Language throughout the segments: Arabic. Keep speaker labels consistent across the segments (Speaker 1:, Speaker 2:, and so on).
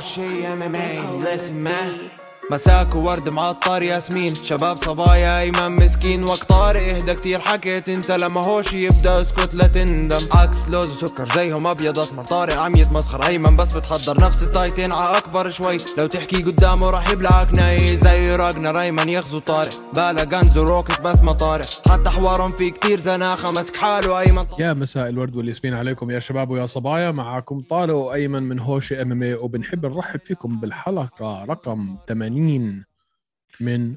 Speaker 1: شي ام ام اي listen man مساك وورد معطر ياسمين شباب صبايا ايمن مسكين وقت طارق اهدى كتير حكيت انت لما هوش يبدا اسكت لا تندم عكس لوز وسكر زيهم ابيض اسمر طارق عم يتمسخر ايمن بس بتحضر نفس التايتين ع اكبر شوي لو تحكي قدامه راح يبلعك ناي زي راجنا ريمان يغزو طارق بالا غنز وروكت بس ما طارق حتى حوارهم في كتير زناخه مسك حاله ايمن
Speaker 2: يا مساء الورد والياسمين عليكم يا شباب ويا صبايا معكم طارق وايمن من هوشي ام ام وبنحب نرحب فيكم بالحلقه رقم 80 من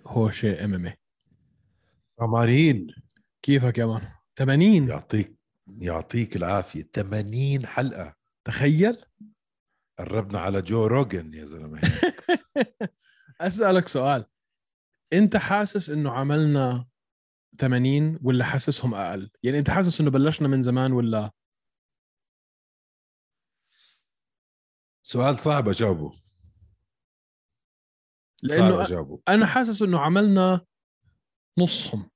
Speaker 2: هوشي ام ام
Speaker 3: عمارين
Speaker 2: كيفك يا مان 80
Speaker 3: يعطيك يعطيك العافية 80 حلقة
Speaker 2: تخيل
Speaker 3: قربنا على جو روجن يا زلمة
Speaker 2: اسالك سؤال انت حاسس انه عملنا 80 ولا حاسسهم اقل يعني انت حاسس انه بلشنا من زمان ولا
Speaker 3: سؤال صعب أجاوبه صعب
Speaker 2: لانه
Speaker 3: أجاوبه
Speaker 2: انا حاسس انه عملنا نصهم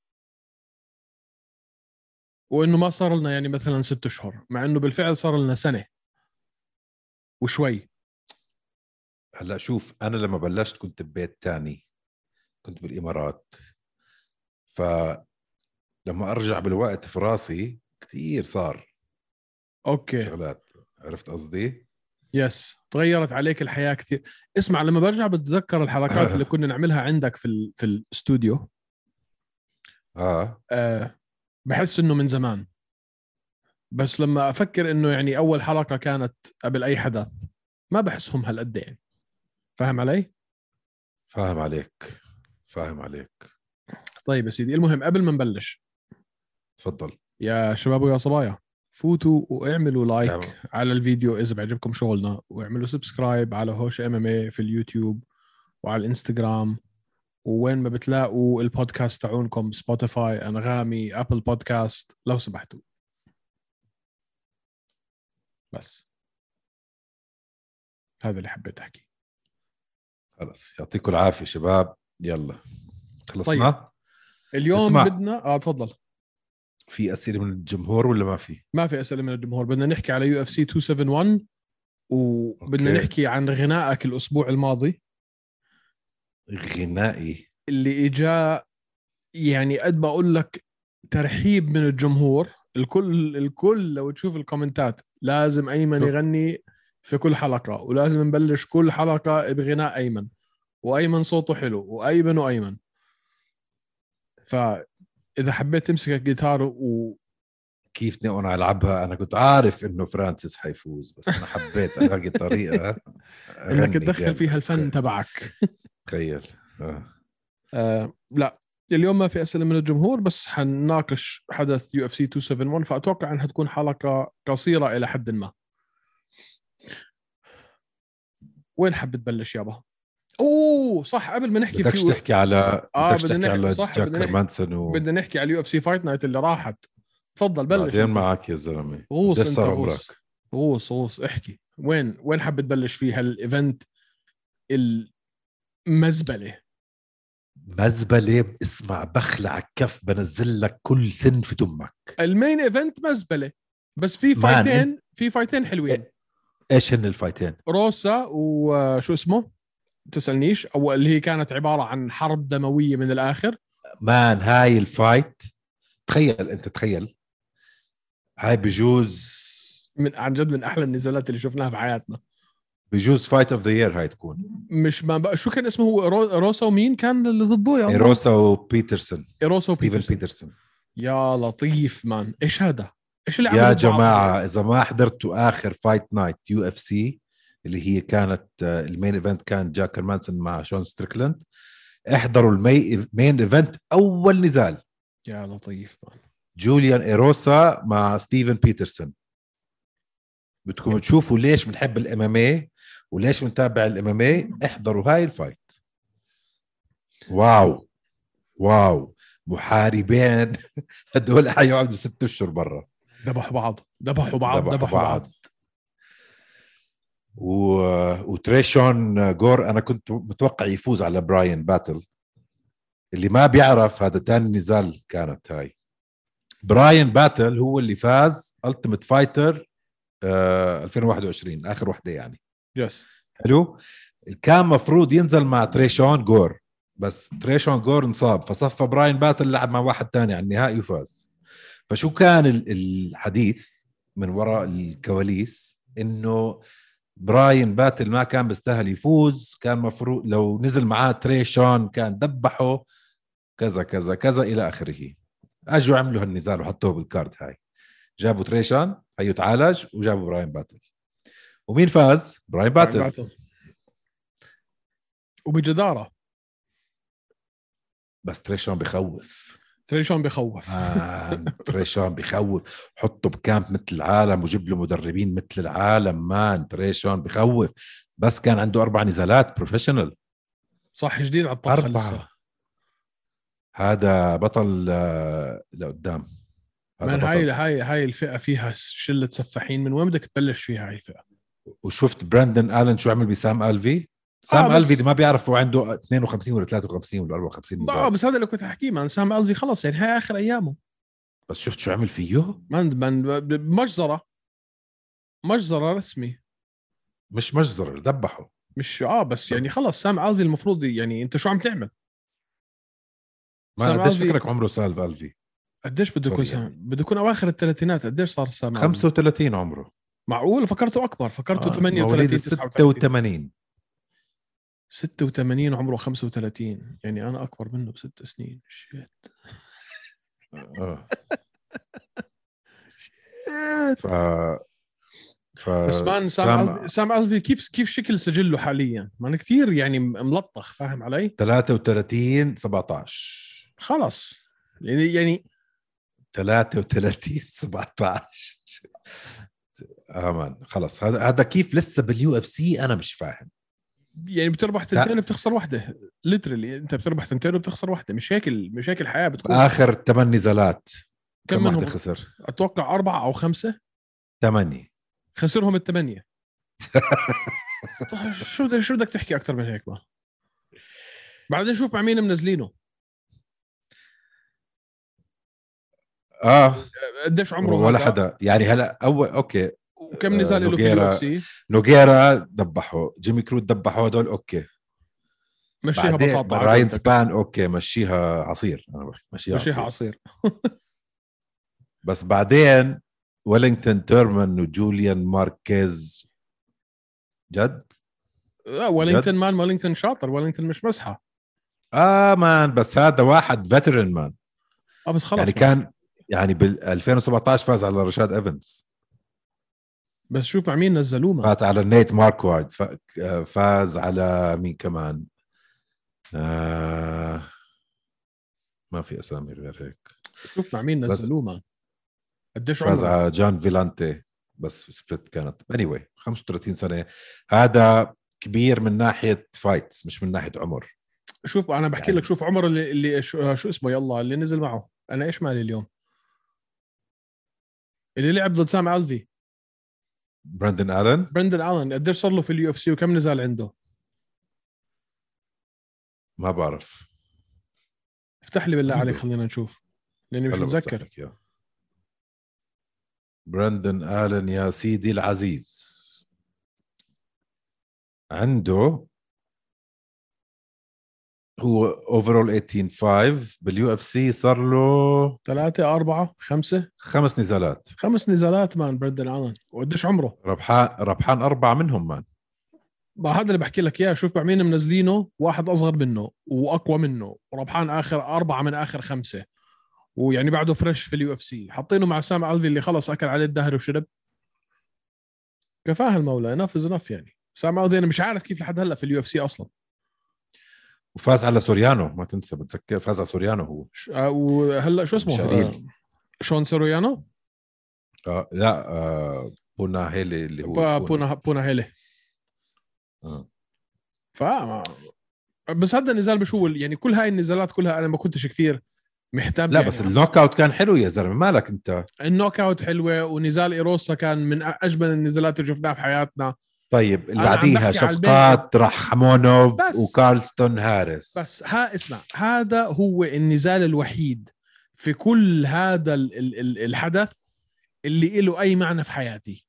Speaker 2: وانه ما صار لنا يعني مثلا ست اشهر مع انه بالفعل صار لنا سنه وشوي
Speaker 3: هلا شوف أنا لما بلشت كنت ببيت تاني كنت بالإمارات ف لما أرجع بالوقت في راسي كثير صار
Speaker 2: اوكي
Speaker 3: شغلات عرفت قصدي؟
Speaker 2: يس تغيرت عليك الحياه كثير اسمع لما برجع بتذكر الحركات اللي كنا نعملها عندك في ال... في الاستوديو
Speaker 3: آه
Speaker 2: آه بحس انه من زمان بس لما افكر انه يعني اول حلقه كانت قبل اي حدث ما بحسهم هالقد يعني فاهم علي؟
Speaker 3: فاهم عليك فاهم عليك
Speaker 2: طيب يا سيدي المهم قبل ما نبلش
Speaker 3: تفضل
Speaker 2: يا شباب ويا صبايا فوتوا واعملوا لايك
Speaker 3: تمام.
Speaker 2: على الفيديو اذا بيعجبكم شغلنا واعملوا سبسكرايب على هوش ام ام في اليوتيوب وعلى الانستغرام وين ما بتلاقوا البودكاست تاعونكم سبوتيفاي انغامي ابل بودكاست لو سمحتوا بس هذا اللي حبيت احكيه
Speaker 3: خلص يعطيكم العافية شباب يلا خلصنا؟
Speaker 2: اليوم
Speaker 3: اسمع.
Speaker 2: بدنا اه تفضل
Speaker 3: في اسئله من الجمهور ولا ما في؟
Speaker 2: ما في اسئله من الجمهور بدنا نحكي على يو اف سي 271 وبدنا
Speaker 3: أوكي.
Speaker 2: نحكي عن غنائك الاسبوع الماضي
Speaker 3: غنائي
Speaker 2: اللي اجا يعني قد ما اقول لك ترحيب من الجمهور الكل الكل لو تشوف الكومنتات لازم ايمن
Speaker 3: شوف.
Speaker 2: يغني في كل حلقه ولازم نبلش كل حلقه بغناء ايمن وايمن صوته حلو وايمن وايمن فاذا حبيت تمسك الجيتار و
Speaker 3: كيف بدي انا العبها انا كنت عارف انه فرانسيس حيفوز بس انا حبيت الاقي طريقه
Speaker 2: انك
Speaker 3: أغني
Speaker 2: تدخل
Speaker 3: جامد.
Speaker 2: فيها الفن تبعك
Speaker 3: تخيل آه.
Speaker 2: آه لا اليوم ما في اسئله من الجمهور بس حنناقش حدث يو اف سي 271 فاتوقع انها تكون حلقه قصيره الى حد ما وين حاب تبلش يابا؟ اوه صح قبل ما نحكي
Speaker 3: بدكش
Speaker 2: في
Speaker 3: تحكي على
Speaker 2: آه،
Speaker 3: بدكش
Speaker 2: بدنا
Speaker 3: تحكي
Speaker 2: نحكي-
Speaker 3: على
Speaker 2: صح،
Speaker 3: جاك
Speaker 2: بدنا نحكي.
Speaker 3: هيرمانسون و
Speaker 2: بدنا نحكي على اليو اف سي فايت نايت اللي راحت تفضل بلش
Speaker 3: بعدين معك يا زلمه
Speaker 2: غوص
Speaker 3: قديش
Speaker 2: انت
Speaker 3: صار
Speaker 2: غوص غوص غوص احكي وين وين حاب تبلش في هالايفنت المزبله
Speaker 3: مزبله اسمع بخلع الكف بنزل لك كل سن في دمك
Speaker 2: المين ايفنت مزبله بس في
Speaker 3: مان.
Speaker 2: فايتين في فايتين
Speaker 3: إيه.
Speaker 2: حلوين
Speaker 3: ايش هن الفايتين؟
Speaker 2: روسا وشو اسمه تسالنيش او اللي هي كانت عباره عن حرب دمويه من الاخر
Speaker 3: مان هاي الفايت تخيل انت تخيل هاي بجوز
Speaker 2: من عن جد من احلى النزالات اللي شفناها في حياتنا
Speaker 3: بجوز فايت اوف ذا يير هاي تكون
Speaker 2: مش ما بقى شو كان اسمه هو رو- روسا ومين كان اللي ضده يا الله؟
Speaker 3: ايروسا وبيترسون
Speaker 2: روسا
Speaker 3: إيه، ستيفن
Speaker 2: وبيترسون.
Speaker 3: بيترسون
Speaker 2: يا لطيف مان ايش هذا ايش اللي
Speaker 3: يا
Speaker 2: عملوا بعض؟
Speaker 3: جماعه اذا ما حضرتوا اخر فايت نايت يو اف سي اللي هي كانت آه، المين ايفنت كان جاك هرمانسون مع شون ستريكلاند احضروا المين ايفنت اول نزال
Speaker 2: يا لطيف مان
Speaker 3: جوليان ايروسا مع ستيفن بيترسون بدكم تشوفوا ليش بنحب الام وليش بنتابع الام احضروا هاي الفايت واو واو محاربين هدول حيقعدوا ست اشهر برا
Speaker 2: ذبحوا بعض ذبحوا بعض
Speaker 3: ذبحوا
Speaker 2: ذبحوا بعض
Speaker 3: و... وتريشون جور انا كنت متوقع يفوز على براين باتل اللي ما بيعرف هذا تاني نزال كانت هاي براين باتل هو اللي آه، فاز التيمت فايتر 2021 اخر وحده يعني
Speaker 2: يس
Speaker 3: حلو كان مفروض ينزل مع تريشون جور بس تريشون جور انصاب فصفى براين باتل لعب مع واحد تاني على النهائي وفاز فشو كان ال- الحديث من وراء الكواليس انه براين باتل ما كان بيستاهل يفوز كان مفروض لو نزل معاه تريشون كان دبحه كذا كذا كذا الى اخره اجوا عملوا هالنزال وحطوه بالكارد هاي جابوا تريشان هيو تعالج وجابوا براين باتل ومين فاز؟ براين باتل
Speaker 2: وبجداره
Speaker 3: بس تريشان بخوف
Speaker 2: تريشون بخوف
Speaker 3: آه. مان تريشان بخوف حطه بكامب مثل العالم وجيب له مدربين مثل العالم مان تريشان بخوف بس كان عنده اربع نزالات بروفيشنال
Speaker 2: صح جديد على الطبخه لسه
Speaker 3: اربعه هذا بطل آه، لقدام هذا
Speaker 2: من هاي
Speaker 3: بطل.
Speaker 2: هاي هاي الفئه فيها شله سفاحين من وين بدك تبلش فيها هاي الفئه
Speaker 3: وشفت براندن الن شو عمل بسام الفي سام
Speaker 2: آه، بس-
Speaker 3: الفي ما بيعرف هو عنده 52 ولا 53 ولا 54
Speaker 2: اه
Speaker 3: نزال
Speaker 2: بس هذا اللي كنت احكيه مان سام الفي خلص يعني هاي اخر ايامه
Speaker 3: بس شفت شو عمل فيه
Speaker 2: مان مان مجزره مجزره رسمي
Speaker 3: مش مجزر دبحه
Speaker 2: مش اه بس يعني خلص سام الفي المفروض يعني انت شو عم تعمل؟
Speaker 3: ما
Speaker 2: سام
Speaker 3: قديش
Speaker 2: ألفي-
Speaker 3: فكرك عمره سالف الفي
Speaker 2: قديش بده يكون
Speaker 3: سوري
Speaker 2: سام؟ بده يكون اواخر الثلاثينات قديش صار سام ألفي؟
Speaker 3: 35 عمره
Speaker 2: معقول فكرته اكبر فكرته
Speaker 3: آه،
Speaker 2: 38
Speaker 3: مواليد ال
Speaker 2: 86
Speaker 3: 86
Speaker 2: 86 عمره 35 يعني انا اكبر منه بست سنين شيت
Speaker 3: آه. ف ف
Speaker 2: بس مان سام
Speaker 3: سام
Speaker 2: ألفي- سام الفي كيف كيف شكل سجله حاليا؟ مان كثير يعني ملطخ فاهم علي؟
Speaker 3: 33 17
Speaker 2: خلص يعني يعني
Speaker 3: 33 17 امان خلص هذا هذا كيف لسه باليو اف سي انا مش فاهم
Speaker 2: يعني بتربح تنتين وبتخسر واحده ليترلي انت بتربح تنتين وبتخسر واحده مشاكل مشاكل الحياه بتكون
Speaker 3: اخر ثمان نزالات
Speaker 2: كم
Speaker 3: كم
Speaker 2: منهم
Speaker 3: واحدة خسر؟
Speaker 2: اتوقع اربعه او خمسه
Speaker 3: ثمانية
Speaker 2: خسرهم الثمانيه طيب شو بدك- شو بدك تحكي اكثر من هيك ما بعدين شوف مع مين منزلينه
Speaker 3: اه
Speaker 2: قديش عمره
Speaker 3: ولا
Speaker 2: هذا؟
Speaker 3: حدا يعني هلا اول اوكي
Speaker 2: وكم
Speaker 3: آه،
Speaker 2: نزال له في اليو
Speaker 3: نوغيرا.
Speaker 2: اف سي
Speaker 3: نوغيرا دبحه جيمي كروت دبحه هدول اوكي
Speaker 2: مشيها
Speaker 3: بعدين
Speaker 2: بطاطا
Speaker 3: راين
Speaker 2: راينز
Speaker 3: سبان اوكي مشيها عصير انا بحكي مشيها,
Speaker 2: مشيها
Speaker 3: عصير.
Speaker 2: عصير
Speaker 3: بس بعدين ويلينغتون تيرمان وجوليان ماركيز جد
Speaker 2: لا آه، ويلينغتون مان ويلينغتون شاطر ويلينغتون مش مسحه
Speaker 3: اه مان بس هذا واحد فيترن مان
Speaker 2: اه بس خلص
Speaker 3: يعني كان يعني بال 2017 فاز على رشاد ايفنز
Speaker 2: بس شوف مع مين نزلوه ما.
Speaker 3: فات على نيت ماركوارد ف- آه، فاز على مين كمان آه ما في اسامي غير هيك
Speaker 2: شوف مع مين
Speaker 3: بس-
Speaker 2: نزلوه ما قديش
Speaker 3: فاز
Speaker 2: عمره
Speaker 3: على جان فيلانتي بس سبليت كانت اني anyway, 35 سنه هذا كبير من ناحيه فايتس مش من ناحيه عمر
Speaker 2: شوف انا بحكي
Speaker 3: يعني-
Speaker 2: لك شوف عمر اللي, اللي شو, شو اسمه يلا اللي نزل معه انا ايش مالي اليوم اللي لعب ضد سام الفي
Speaker 3: براندن الن
Speaker 2: برندن الن قديش صار له في اليو اف سي وكم نزال عنده
Speaker 3: ما بعرف
Speaker 2: افتح لي بالله
Speaker 3: عنده.
Speaker 2: عليك خلينا نشوف لاني مش
Speaker 3: هلا بفتح
Speaker 2: متذكر
Speaker 3: لك إياه. براندن الن يا سيدي العزيز عنده هو اوفرول 18 5 باليو اف سي صار له
Speaker 2: ثلاثة أربعة خمسة
Speaker 3: خمس نزالات
Speaker 2: خمس نزالات مان برندن الن وقديش عمره
Speaker 3: ربحان ربحان اربعه منهم مان
Speaker 2: ما هذا اللي بحكي لك اياه شوف مع مين منزلينه واحد اصغر منه واقوى منه وربحان اخر اربعه من اخر خمسه ويعني بعده فريش في اليو اف سي حاطينه مع سام الفي اللي خلص اكل عليه الدهر وشرب كفاه المولى نفذ نف يعني سام الفي انا مش عارف كيف لحد هلا في اليو اف سي اصلا
Speaker 3: وفاز على سوريانو ما تنسى بتذكر فاز على سوريانو هو
Speaker 2: ش- آه، وهلا شو اسمه
Speaker 3: شرير.
Speaker 2: آه، شون سيرويانو
Speaker 3: آه لا آه بونا هيلي اللي هو
Speaker 2: با- بونا بونا هيلي
Speaker 3: آه.
Speaker 2: ف بس هذا النزال مش هو يعني كل هاي النزالات كلها انا ما كنتش كثير محتاج
Speaker 3: لا
Speaker 2: يعني
Speaker 3: بس النوك اوت كان حلو يا زلمه مالك انت
Speaker 2: النوك اوت حلوه ونزال ايروسا كان من اجمل النزالات اللي شفناها بحياتنا
Speaker 3: طيب اللي
Speaker 2: أنا عم
Speaker 3: بعديها
Speaker 2: بحكي على
Speaker 3: شفقات رحمونوف
Speaker 2: بس.
Speaker 3: وكارلستون هاريس
Speaker 2: بس ها اسمع هذا هو النزال الوحيد في كل هذا ال ال ال الحدث اللي له اي معنى في حياتي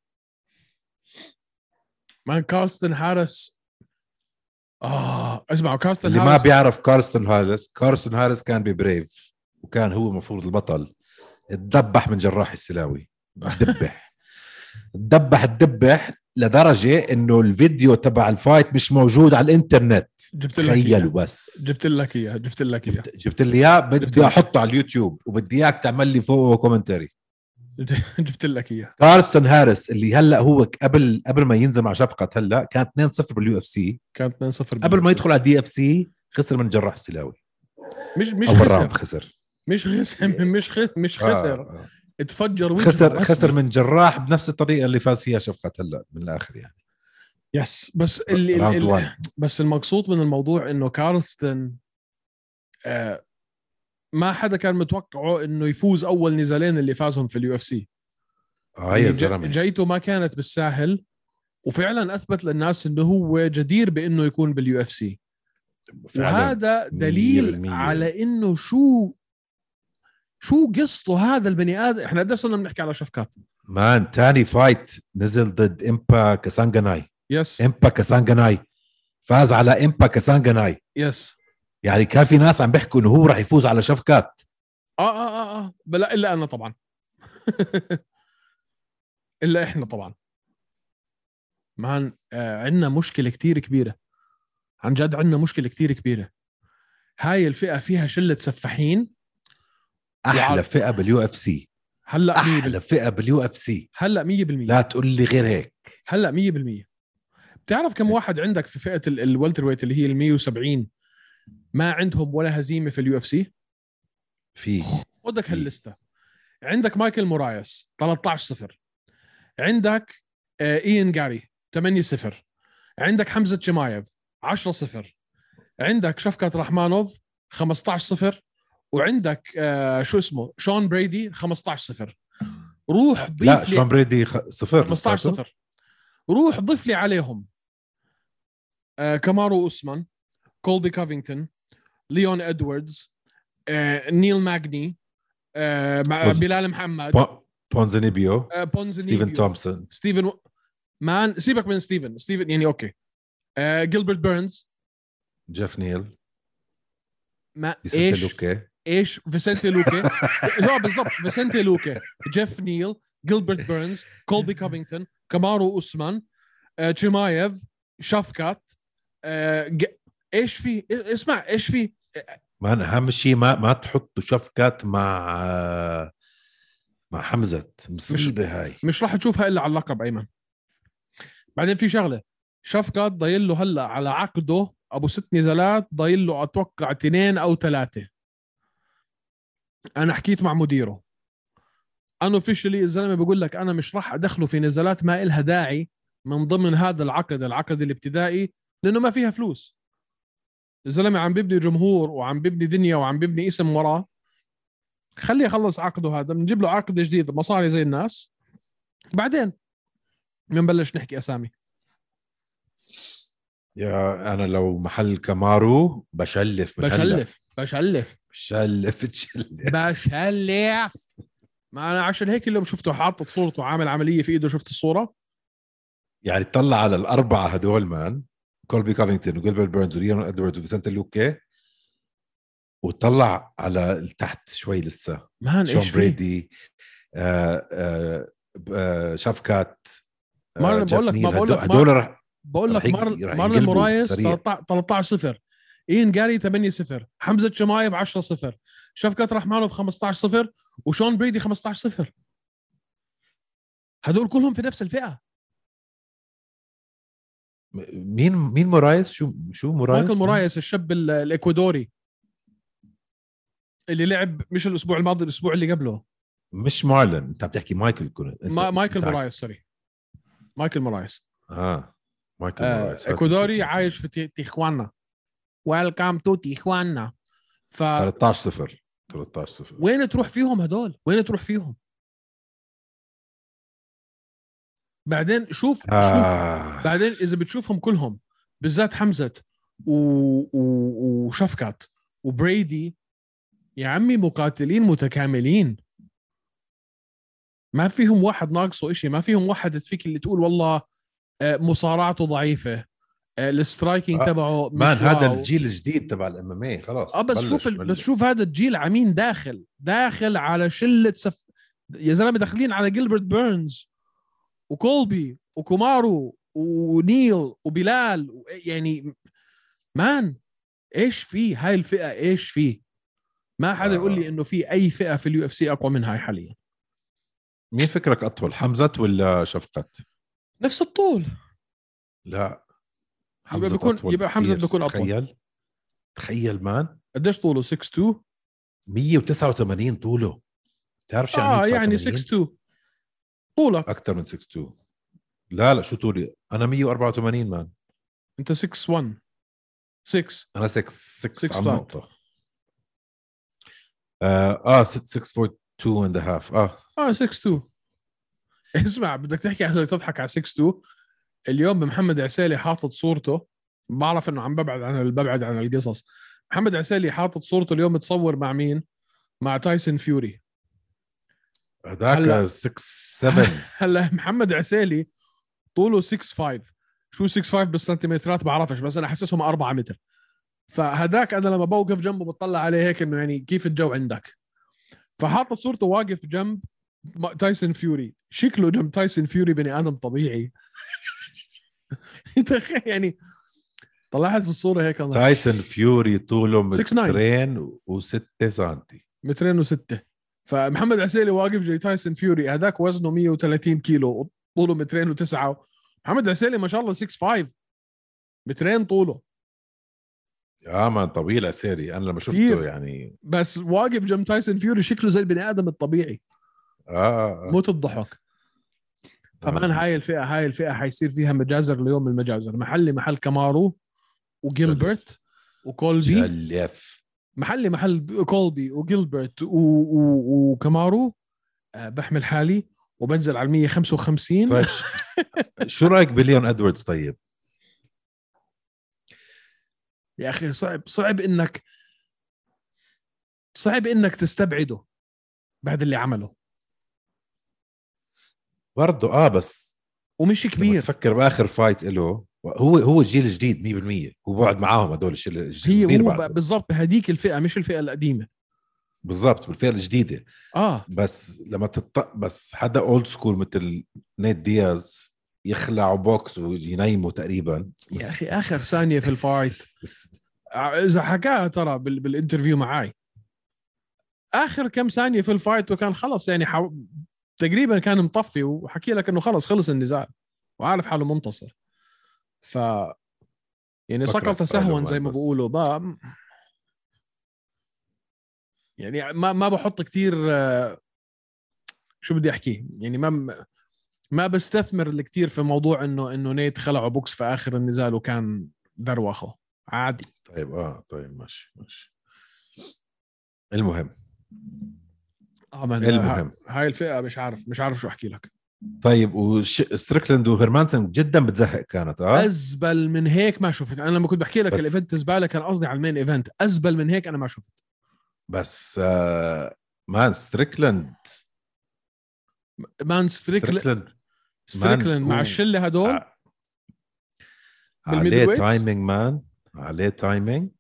Speaker 2: مان كارستن هارس اه اسمعوا كاستن
Speaker 3: اللي ما
Speaker 2: هاريس-
Speaker 3: بيعرف كارستون هاريس كارستون هاريس كان ببريف وكان هو المفروض البطل تدبح من جراح السلاوي تدبح تدبح تدبح لدرجه انه الفيديو تبع الفايت مش موجود على الانترنت
Speaker 2: جبت لك
Speaker 3: تخيلوا
Speaker 2: إياه.
Speaker 3: بس
Speaker 2: جبت لك اياه جبت لك اياه
Speaker 3: جبت لي اياه
Speaker 2: جبت لك.
Speaker 3: بدي احطه على اليوتيوب وبدي اياك تعمل لي فوقه كومنتري
Speaker 2: جبت لك اياه
Speaker 3: كارستون هاريس اللي هلا هو قبل قبل ما ينزل مع شفقت هلا كان 2-0 باليو اف سي
Speaker 2: كان 2 0
Speaker 3: قبل ما يدخل على الدي اف سي خسر من جراح السلاوي
Speaker 2: مش مش
Speaker 3: اول
Speaker 2: خسر
Speaker 3: راوند خسر
Speaker 2: مش خسر مش خسر مش خسر
Speaker 3: آه.
Speaker 2: اتفجر وجهه
Speaker 3: خسر
Speaker 2: رسمي.
Speaker 3: خسر من جراح بنفس الطريقه اللي فاز فيها شفقة هلا من الاخر يعني
Speaker 2: يس بس اللي, اللي,
Speaker 3: راوند
Speaker 2: اللي
Speaker 3: 1
Speaker 2: بس المقصود من الموضوع انه كارلستن آه ما حدا كان متوقعه انه يفوز اول نزالين اللي فازهم في اليو اف سي
Speaker 3: اه يا
Speaker 2: يعني ج-
Speaker 3: زلمه
Speaker 2: جايته ما كانت بالساهل وفعلا اثبت للناس انه هو جدير بانه يكون باليو اف سي
Speaker 3: فعلا
Speaker 2: وهذا
Speaker 3: مية
Speaker 2: دليل
Speaker 3: بالمية.
Speaker 2: على انه شو شو قصته هذا البني ادم احنا قد صرنا بنحكي على شفكات
Speaker 3: مان تاني فايت نزل ضد امبا كاسانجاناي
Speaker 2: يس
Speaker 3: امبا كاسانجاناي فاز على امبا كاسانجاناي
Speaker 2: يس
Speaker 3: يعني كان في ناس عم بيحكوا انه هو راح يفوز على شفكات
Speaker 2: اه اه اه اه بلا الا انا طبعا الا احنا طبعا مان آه عندنا مشكله كتير كبيره عن جد عندنا مشكله كتير كبيره هاي الفئه فيها شله سفاحين
Speaker 3: احلى
Speaker 2: وعلى-
Speaker 3: فئه باليو اف سي
Speaker 2: هلا مية بال...
Speaker 3: احلى فئه باليو اف سي
Speaker 2: هلا 100%
Speaker 3: لا تقول لي غير هيك
Speaker 2: هلا 100% بتعرف كم واحد عندك في فئه ال- الوالتر ويت اللي هي ال 170 ما عندهم ولا هزيمه في اليو اف سي
Speaker 3: في
Speaker 2: خدك
Speaker 3: في.
Speaker 2: هاللسته عندك مايكل مورايس 13 0 عندك آه، ايان جاري 8 0 عندك حمزه شمايف 10 0 عندك شفكت رحمانوف 15 0 وعندك آه، شو اسمه شون بريدي 15 0 روح ضيف
Speaker 3: لا
Speaker 2: لي-
Speaker 3: شون بريدي خ- صفر
Speaker 2: 15 صفر روح ضف لي عليهم آه كامارو اوسمان كولبي كافينغتون ليون ادواردز آه نيل ماجني آه مع
Speaker 3: بونز-
Speaker 2: بلال محمد
Speaker 3: بو- بونزانيبيو
Speaker 2: آه بونزني
Speaker 3: ستيفن تومسون
Speaker 2: ستيفن و... مان سيبك من ستيفن ستيفن يعني اوكي آه جيلبرت بيرنز
Speaker 3: جيف نيل
Speaker 2: ما
Speaker 3: فيسنتي
Speaker 2: ايش
Speaker 3: لوكي
Speaker 2: ايش فيسنتي لوكا لا بالضبط فيسنتي لوكا جيف نيل جيلبرت بيرنز كولبي كافينغتون كامارو اوسمان آه، تشيمايف شافكات آه، ج- ايش في إيه- اسمع ايش في
Speaker 3: ما أنا اهم شيء ما ما تحطوا شفكات مع مع حمزه مصيبه هاي
Speaker 2: مش راح تشوفها الا على اللقب ايمن بعدين في شغله شافكات ضايل له هلا على عقده ابو ست نزالات ضايل له اتوقع اثنين او ثلاثه انا حكيت مع مديره انا اوفيشلي الزلمه بقول لك انا مش راح ادخله في نزالات ما إلها داعي من ضمن هذا العقد العقد الابتدائي لانه ما فيها فلوس الزلمه عم بيبني جمهور وعم بيبني دنيا وعم بيبني اسم وراه خليه يخلص عقده هذا بنجيب له عقد جديد مصاري زي الناس بعدين بنبلش نحكي اسامي
Speaker 3: يا انا لو محل كامارو بشلف من هلا.
Speaker 2: بشلف بشلف
Speaker 3: بشلف تشلف
Speaker 2: بشلف ما انا عشان هيك اليوم شفته حاطط صورته عامل عمليه في ايده شفت الصوره
Speaker 3: يعني طلع على الاربعه هدول مان كولبي كافينغتون وجيلبرت بيرنز وليون ادواردز وفيسنت لوكي وطلع على تحت شوي لسه
Speaker 2: مان
Speaker 3: شون
Speaker 2: ايش في
Speaker 3: بريدي آه آه آه شافكات آه،
Speaker 2: ما أنا
Speaker 3: جيف
Speaker 2: بقول لك-
Speaker 3: نيل.
Speaker 2: ما بقول
Speaker 3: هدول-
Speaker 2: لك ما-
Speaker 3: هدول رح
Speaker 2: بقول لك
Speaker 3: رح يج-
Speaker 2: مار
Speaker 3: رح
Speaker 2: مارلين
Speaker 3: ينقلبوا
Speaker 2: مورايس
Speaker 3: سريع.
Speaker 2: 13 0 اين جاري 8 0 حمزه شمايف 10 0 شفكات رحمانوف 15 0 وشون بريدي 15 0 هدول كلهم في نفس الفئه
Speaker 3: مين مين مورايس شو شو مورايس آه.
Speaker 2: مايكل مورايس الشاب ال- الاكوادوري اللي لعب مش الاسبوع الماضي الاسبوع اللي قبله
Speaker 3: مش مارلن انت عم تحكي مايكل كون
Speaker 2: ما مايكل
Speaker 3: أنت-
Speaker 2: مورايس سوري مايكل مورايس
Speaker 3: اه مايكل
Speaker 2: آه،
Speaker 3: مورايس
Speaker 2: اكوادوري عايش في تي- تيخوانا ويلكم تو تيخوانا ف
Speaker 3: 13 0 13 0
Speaker 2: وين تروح فيهم هدول وين تروح فيهم بعدين شوف شوف
Speaker 3: آه.
Speaker 2: بعدين اذا بتشوفهم كلهم بالذات حمزه و... و... وشفكات وبريدي يا عمي مقاتلين متكاملين ما فيهم واحد ناقصه إشي ما فيهم واحد فيك اللي تقول والله آه، مصارعته ضعيفه السترايكنج
Speaker 3: آه،
Speaker 2: تبعه مش
Speaker 3: مان هذا
Speaker 2: واو.
Speaker 3: الجيل الجديد تبع الام ام اي إيه. خلاص
Speaker 2: اه بس
Speaker 3: بلش
Speaker 2: شوف ال...
Speaker 3: بلش.
Speaker 2: بس شوف هذا الجيل عمين داخل داخل على شله سف يا زلمه داخلين على جilbert بيرنز وكولبي وكومارو ونيل وبلال و... يعني مان ايش في هاي الفئه ايش في ما حدا
Speaker 3: آه.
Speaker 2: يقول لي انه في اي فئه في اليو اف سي اقوى من هاي حاليا
Speaker 3: مين فكرك اطول حمزه ولا شفقت؟
Speaker 2: نفس الطول
Speaker 3: لا
Speaker 2: بيكون-
Speaker 3: أطول
Speaker 2: يبقى حمزة
Speaker 3: بكتير.
Speaker 2: بيكون أطول.
Speaker 3: تخيل تخيل مان
Speaker 2: قديش طوله 6 2
Speaker 3: 189 طوله بتعرف شو
Speaker 2: اه
Speaker 3: يعني
Speaker 2: يعني
Speaker 3: 6
Speaker 2: 6 2 طولك
Speaker 3: اكثر من 6 2 لا لا شو طولي انا 184 مان
Speaker 2: انت 6 1 6
Speaker 3: انا 6 6
Speaker 2: Six
Speaker 3: عم
Speaker 2: flat.
Speaker 3: نقطه اه آه، 6 6 فوت 2 اند هاف اه
Speaker 2: اه 6 2 اسمع بدك تحكي بدك تضحك على 6 2 اليوم محمد عسالي حاطط صورته بعرف انه عم ببعد عن ببعد عن القصص محمد عسالي حاطط صورته اليوم متصور مع مين؟ مع تايسون فيوري
Speaker 3: هذاك
Speaker 2: هلا.
Speaker 3: 6 7
Speaker 2: هلا محمد عسالي طوله 6 5 شو 6 5 بالسنتيمترات بعرفش بس انا حاسسهم 4 متر فهداك انا لما بوقف جنبه بطلع عليه هيك انه يعني كيف الجو عندك فحاطط صورته واقف جنب ما- تايسون فيوري شكله جنب تايسون فيوري بني ادم طبيعي تخيل يعني طلعت في الصوره هيك الله
Speaker 3: تايسون فيوري طوله
Speaker 2: 6 9
Speaker 3: مترين و6 سم
Speaker 2: مترين وستة فمحمد عسيلي واقف جاي تايسون فيوري هذاك وزنه 130 كيلو وطوله مترين وتسعة محمد عسيلي ما شاء الله 6'5 مترين طوله
Speaker 3: اه مان طويل اسيري انا لما شفته
Speaker 2: كتير.
Speaker 3: يعني
Speaker 2: بس واقف جنب تايسون فيوري شكله زي البني ادم الطبيعي
Speaker 3: اه آه، آه.
Speaker 2: موت الضحك طبعا هاي الفئه هاي الفئه حيصير فيها مجازر ليوم المجازر محلي محل كامارو وجيلبرت وكولبي
Speaker 3: شلف
Speaker 2: محلي محل كولبي وجيلبرت و... و... وكامارو آه، بحمل حالي وبنزل على 155
Speaker 3: طيب ش- شو رايك بليون ادواردز طيب؟
Speaker 2: يا اخي صعب صعب انك صعب انك تستبعده بعد اللي عمله
Speaker 3: برضه اه بس
Speaker 2: ومش
Speaker 3: لما
Speaker 2: كبير
Speaker 3: تفكر باخر فايت له هو هو الجيل الجديد 100% هو بقعد معاهم هدول الشيء
Speaker 2: هي
Speaker 3: الصغير
Speaker 2: هو
Speaker 3: بعده.
Speaker 2: ب- بالضبط بهديك الفئه مش الفئه القديمه
Speaker 3: بالضبط بالفئه الجديده
Speaker 2: اه
Speaker 3: بس لما تط بس حدا اولد سكول مثل نيت دياز يخلع بوكس وينيمه تقريبا
Speaker 2: يا اخي اخر ثانيه في الفايت ع- اذا حكاها ترى بال... بالانترفيو معاي اخر كم ثانيه في الفايت وكان خلص يعني حو... تقريبا كان مطفي وحكي لك انه خلص خلص النزاع وعارف حاله منتصر ف يعني
Speaker 3: بكره
Speaker 2: سقط
Speaker 3: ستايله
Speaker 2: سهوا
Speaker 3: مان
Speaker 2: زي ما
Speaker 3: بس.
Speaker 2: بقولوا با يعني ما ما بحط كثير آه، شو بدي احكي يعني ما ما بستثمر كثير في موضوع انه انه نيت خلعه بوكس في اخر النزال وكان دروخه عادي
Speaker 3: طيب اه طيب ماشي ماشي المهم
Speaker 2: اه ما
Speaker 3: إيه المهم.
Speaker 2: ه- هاي الفئه مش عارف مش عارف شو احكي لك
Speaker 3: طيب وستريكلاند وهرمانسون جدا بتزهق كانت اه
Speaker 2: ازبل من هيك ما شفت انا لما كنت بحكي لك
Speaker 3: بس-
Speaker 2: الايفنت زباله كان قصدي على المين ايفنت ازبل من هيك انا ما شفت
Speaker 3: بس آه مان ستريكلاند
Speaker 2: مان ستريكل ستريكلن
Speaker 3: هو-
Speaker 2: مع الشله هدول
Speaker 3: آه.
Speaker 2: بالميدل
Speaker 3: عليه
Speaker 2: ويتس؟
Speaker 3: تايمينج مان عليه تايمينج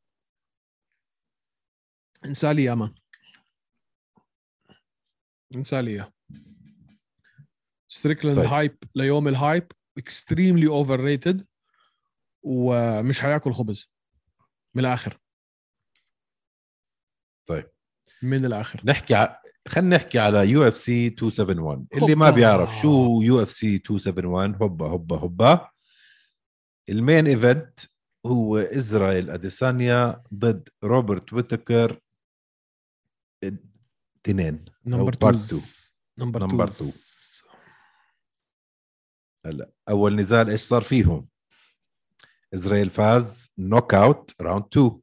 Speaker 2: انسى لي يا مان انسى لي يا ستريكلاند
Speaker 3: طيب.
Speaker 2: هايب ليوم الهايب اكستريملي اوفر ريتد ومش حياكل خبز من الاخر
Speaker 3: طيب.
Speaker 2: من الاخر
Speaker 3: نحكي ع... خلينا نحكي على يو اف سي 271 اللي ما
Speaker 2: هوبا.
Speaker 3: بيعرف شو يو اف سي 271 هوبا هوبا هوبا المين ايفنت هو اسرائيل اديسانيا ضد روبرت ويتكر تنين
Speaker 2: نمبر
Speaker 3: part
Speaker 2: 2
Speaker 3: two.
Speaker 2: نمبر
Speaker 3: Number
Speaker 2: 2
Speaker 3: two. اول نزال ايش صار فيهم اسرائيل فاز نوك اوت راوند 2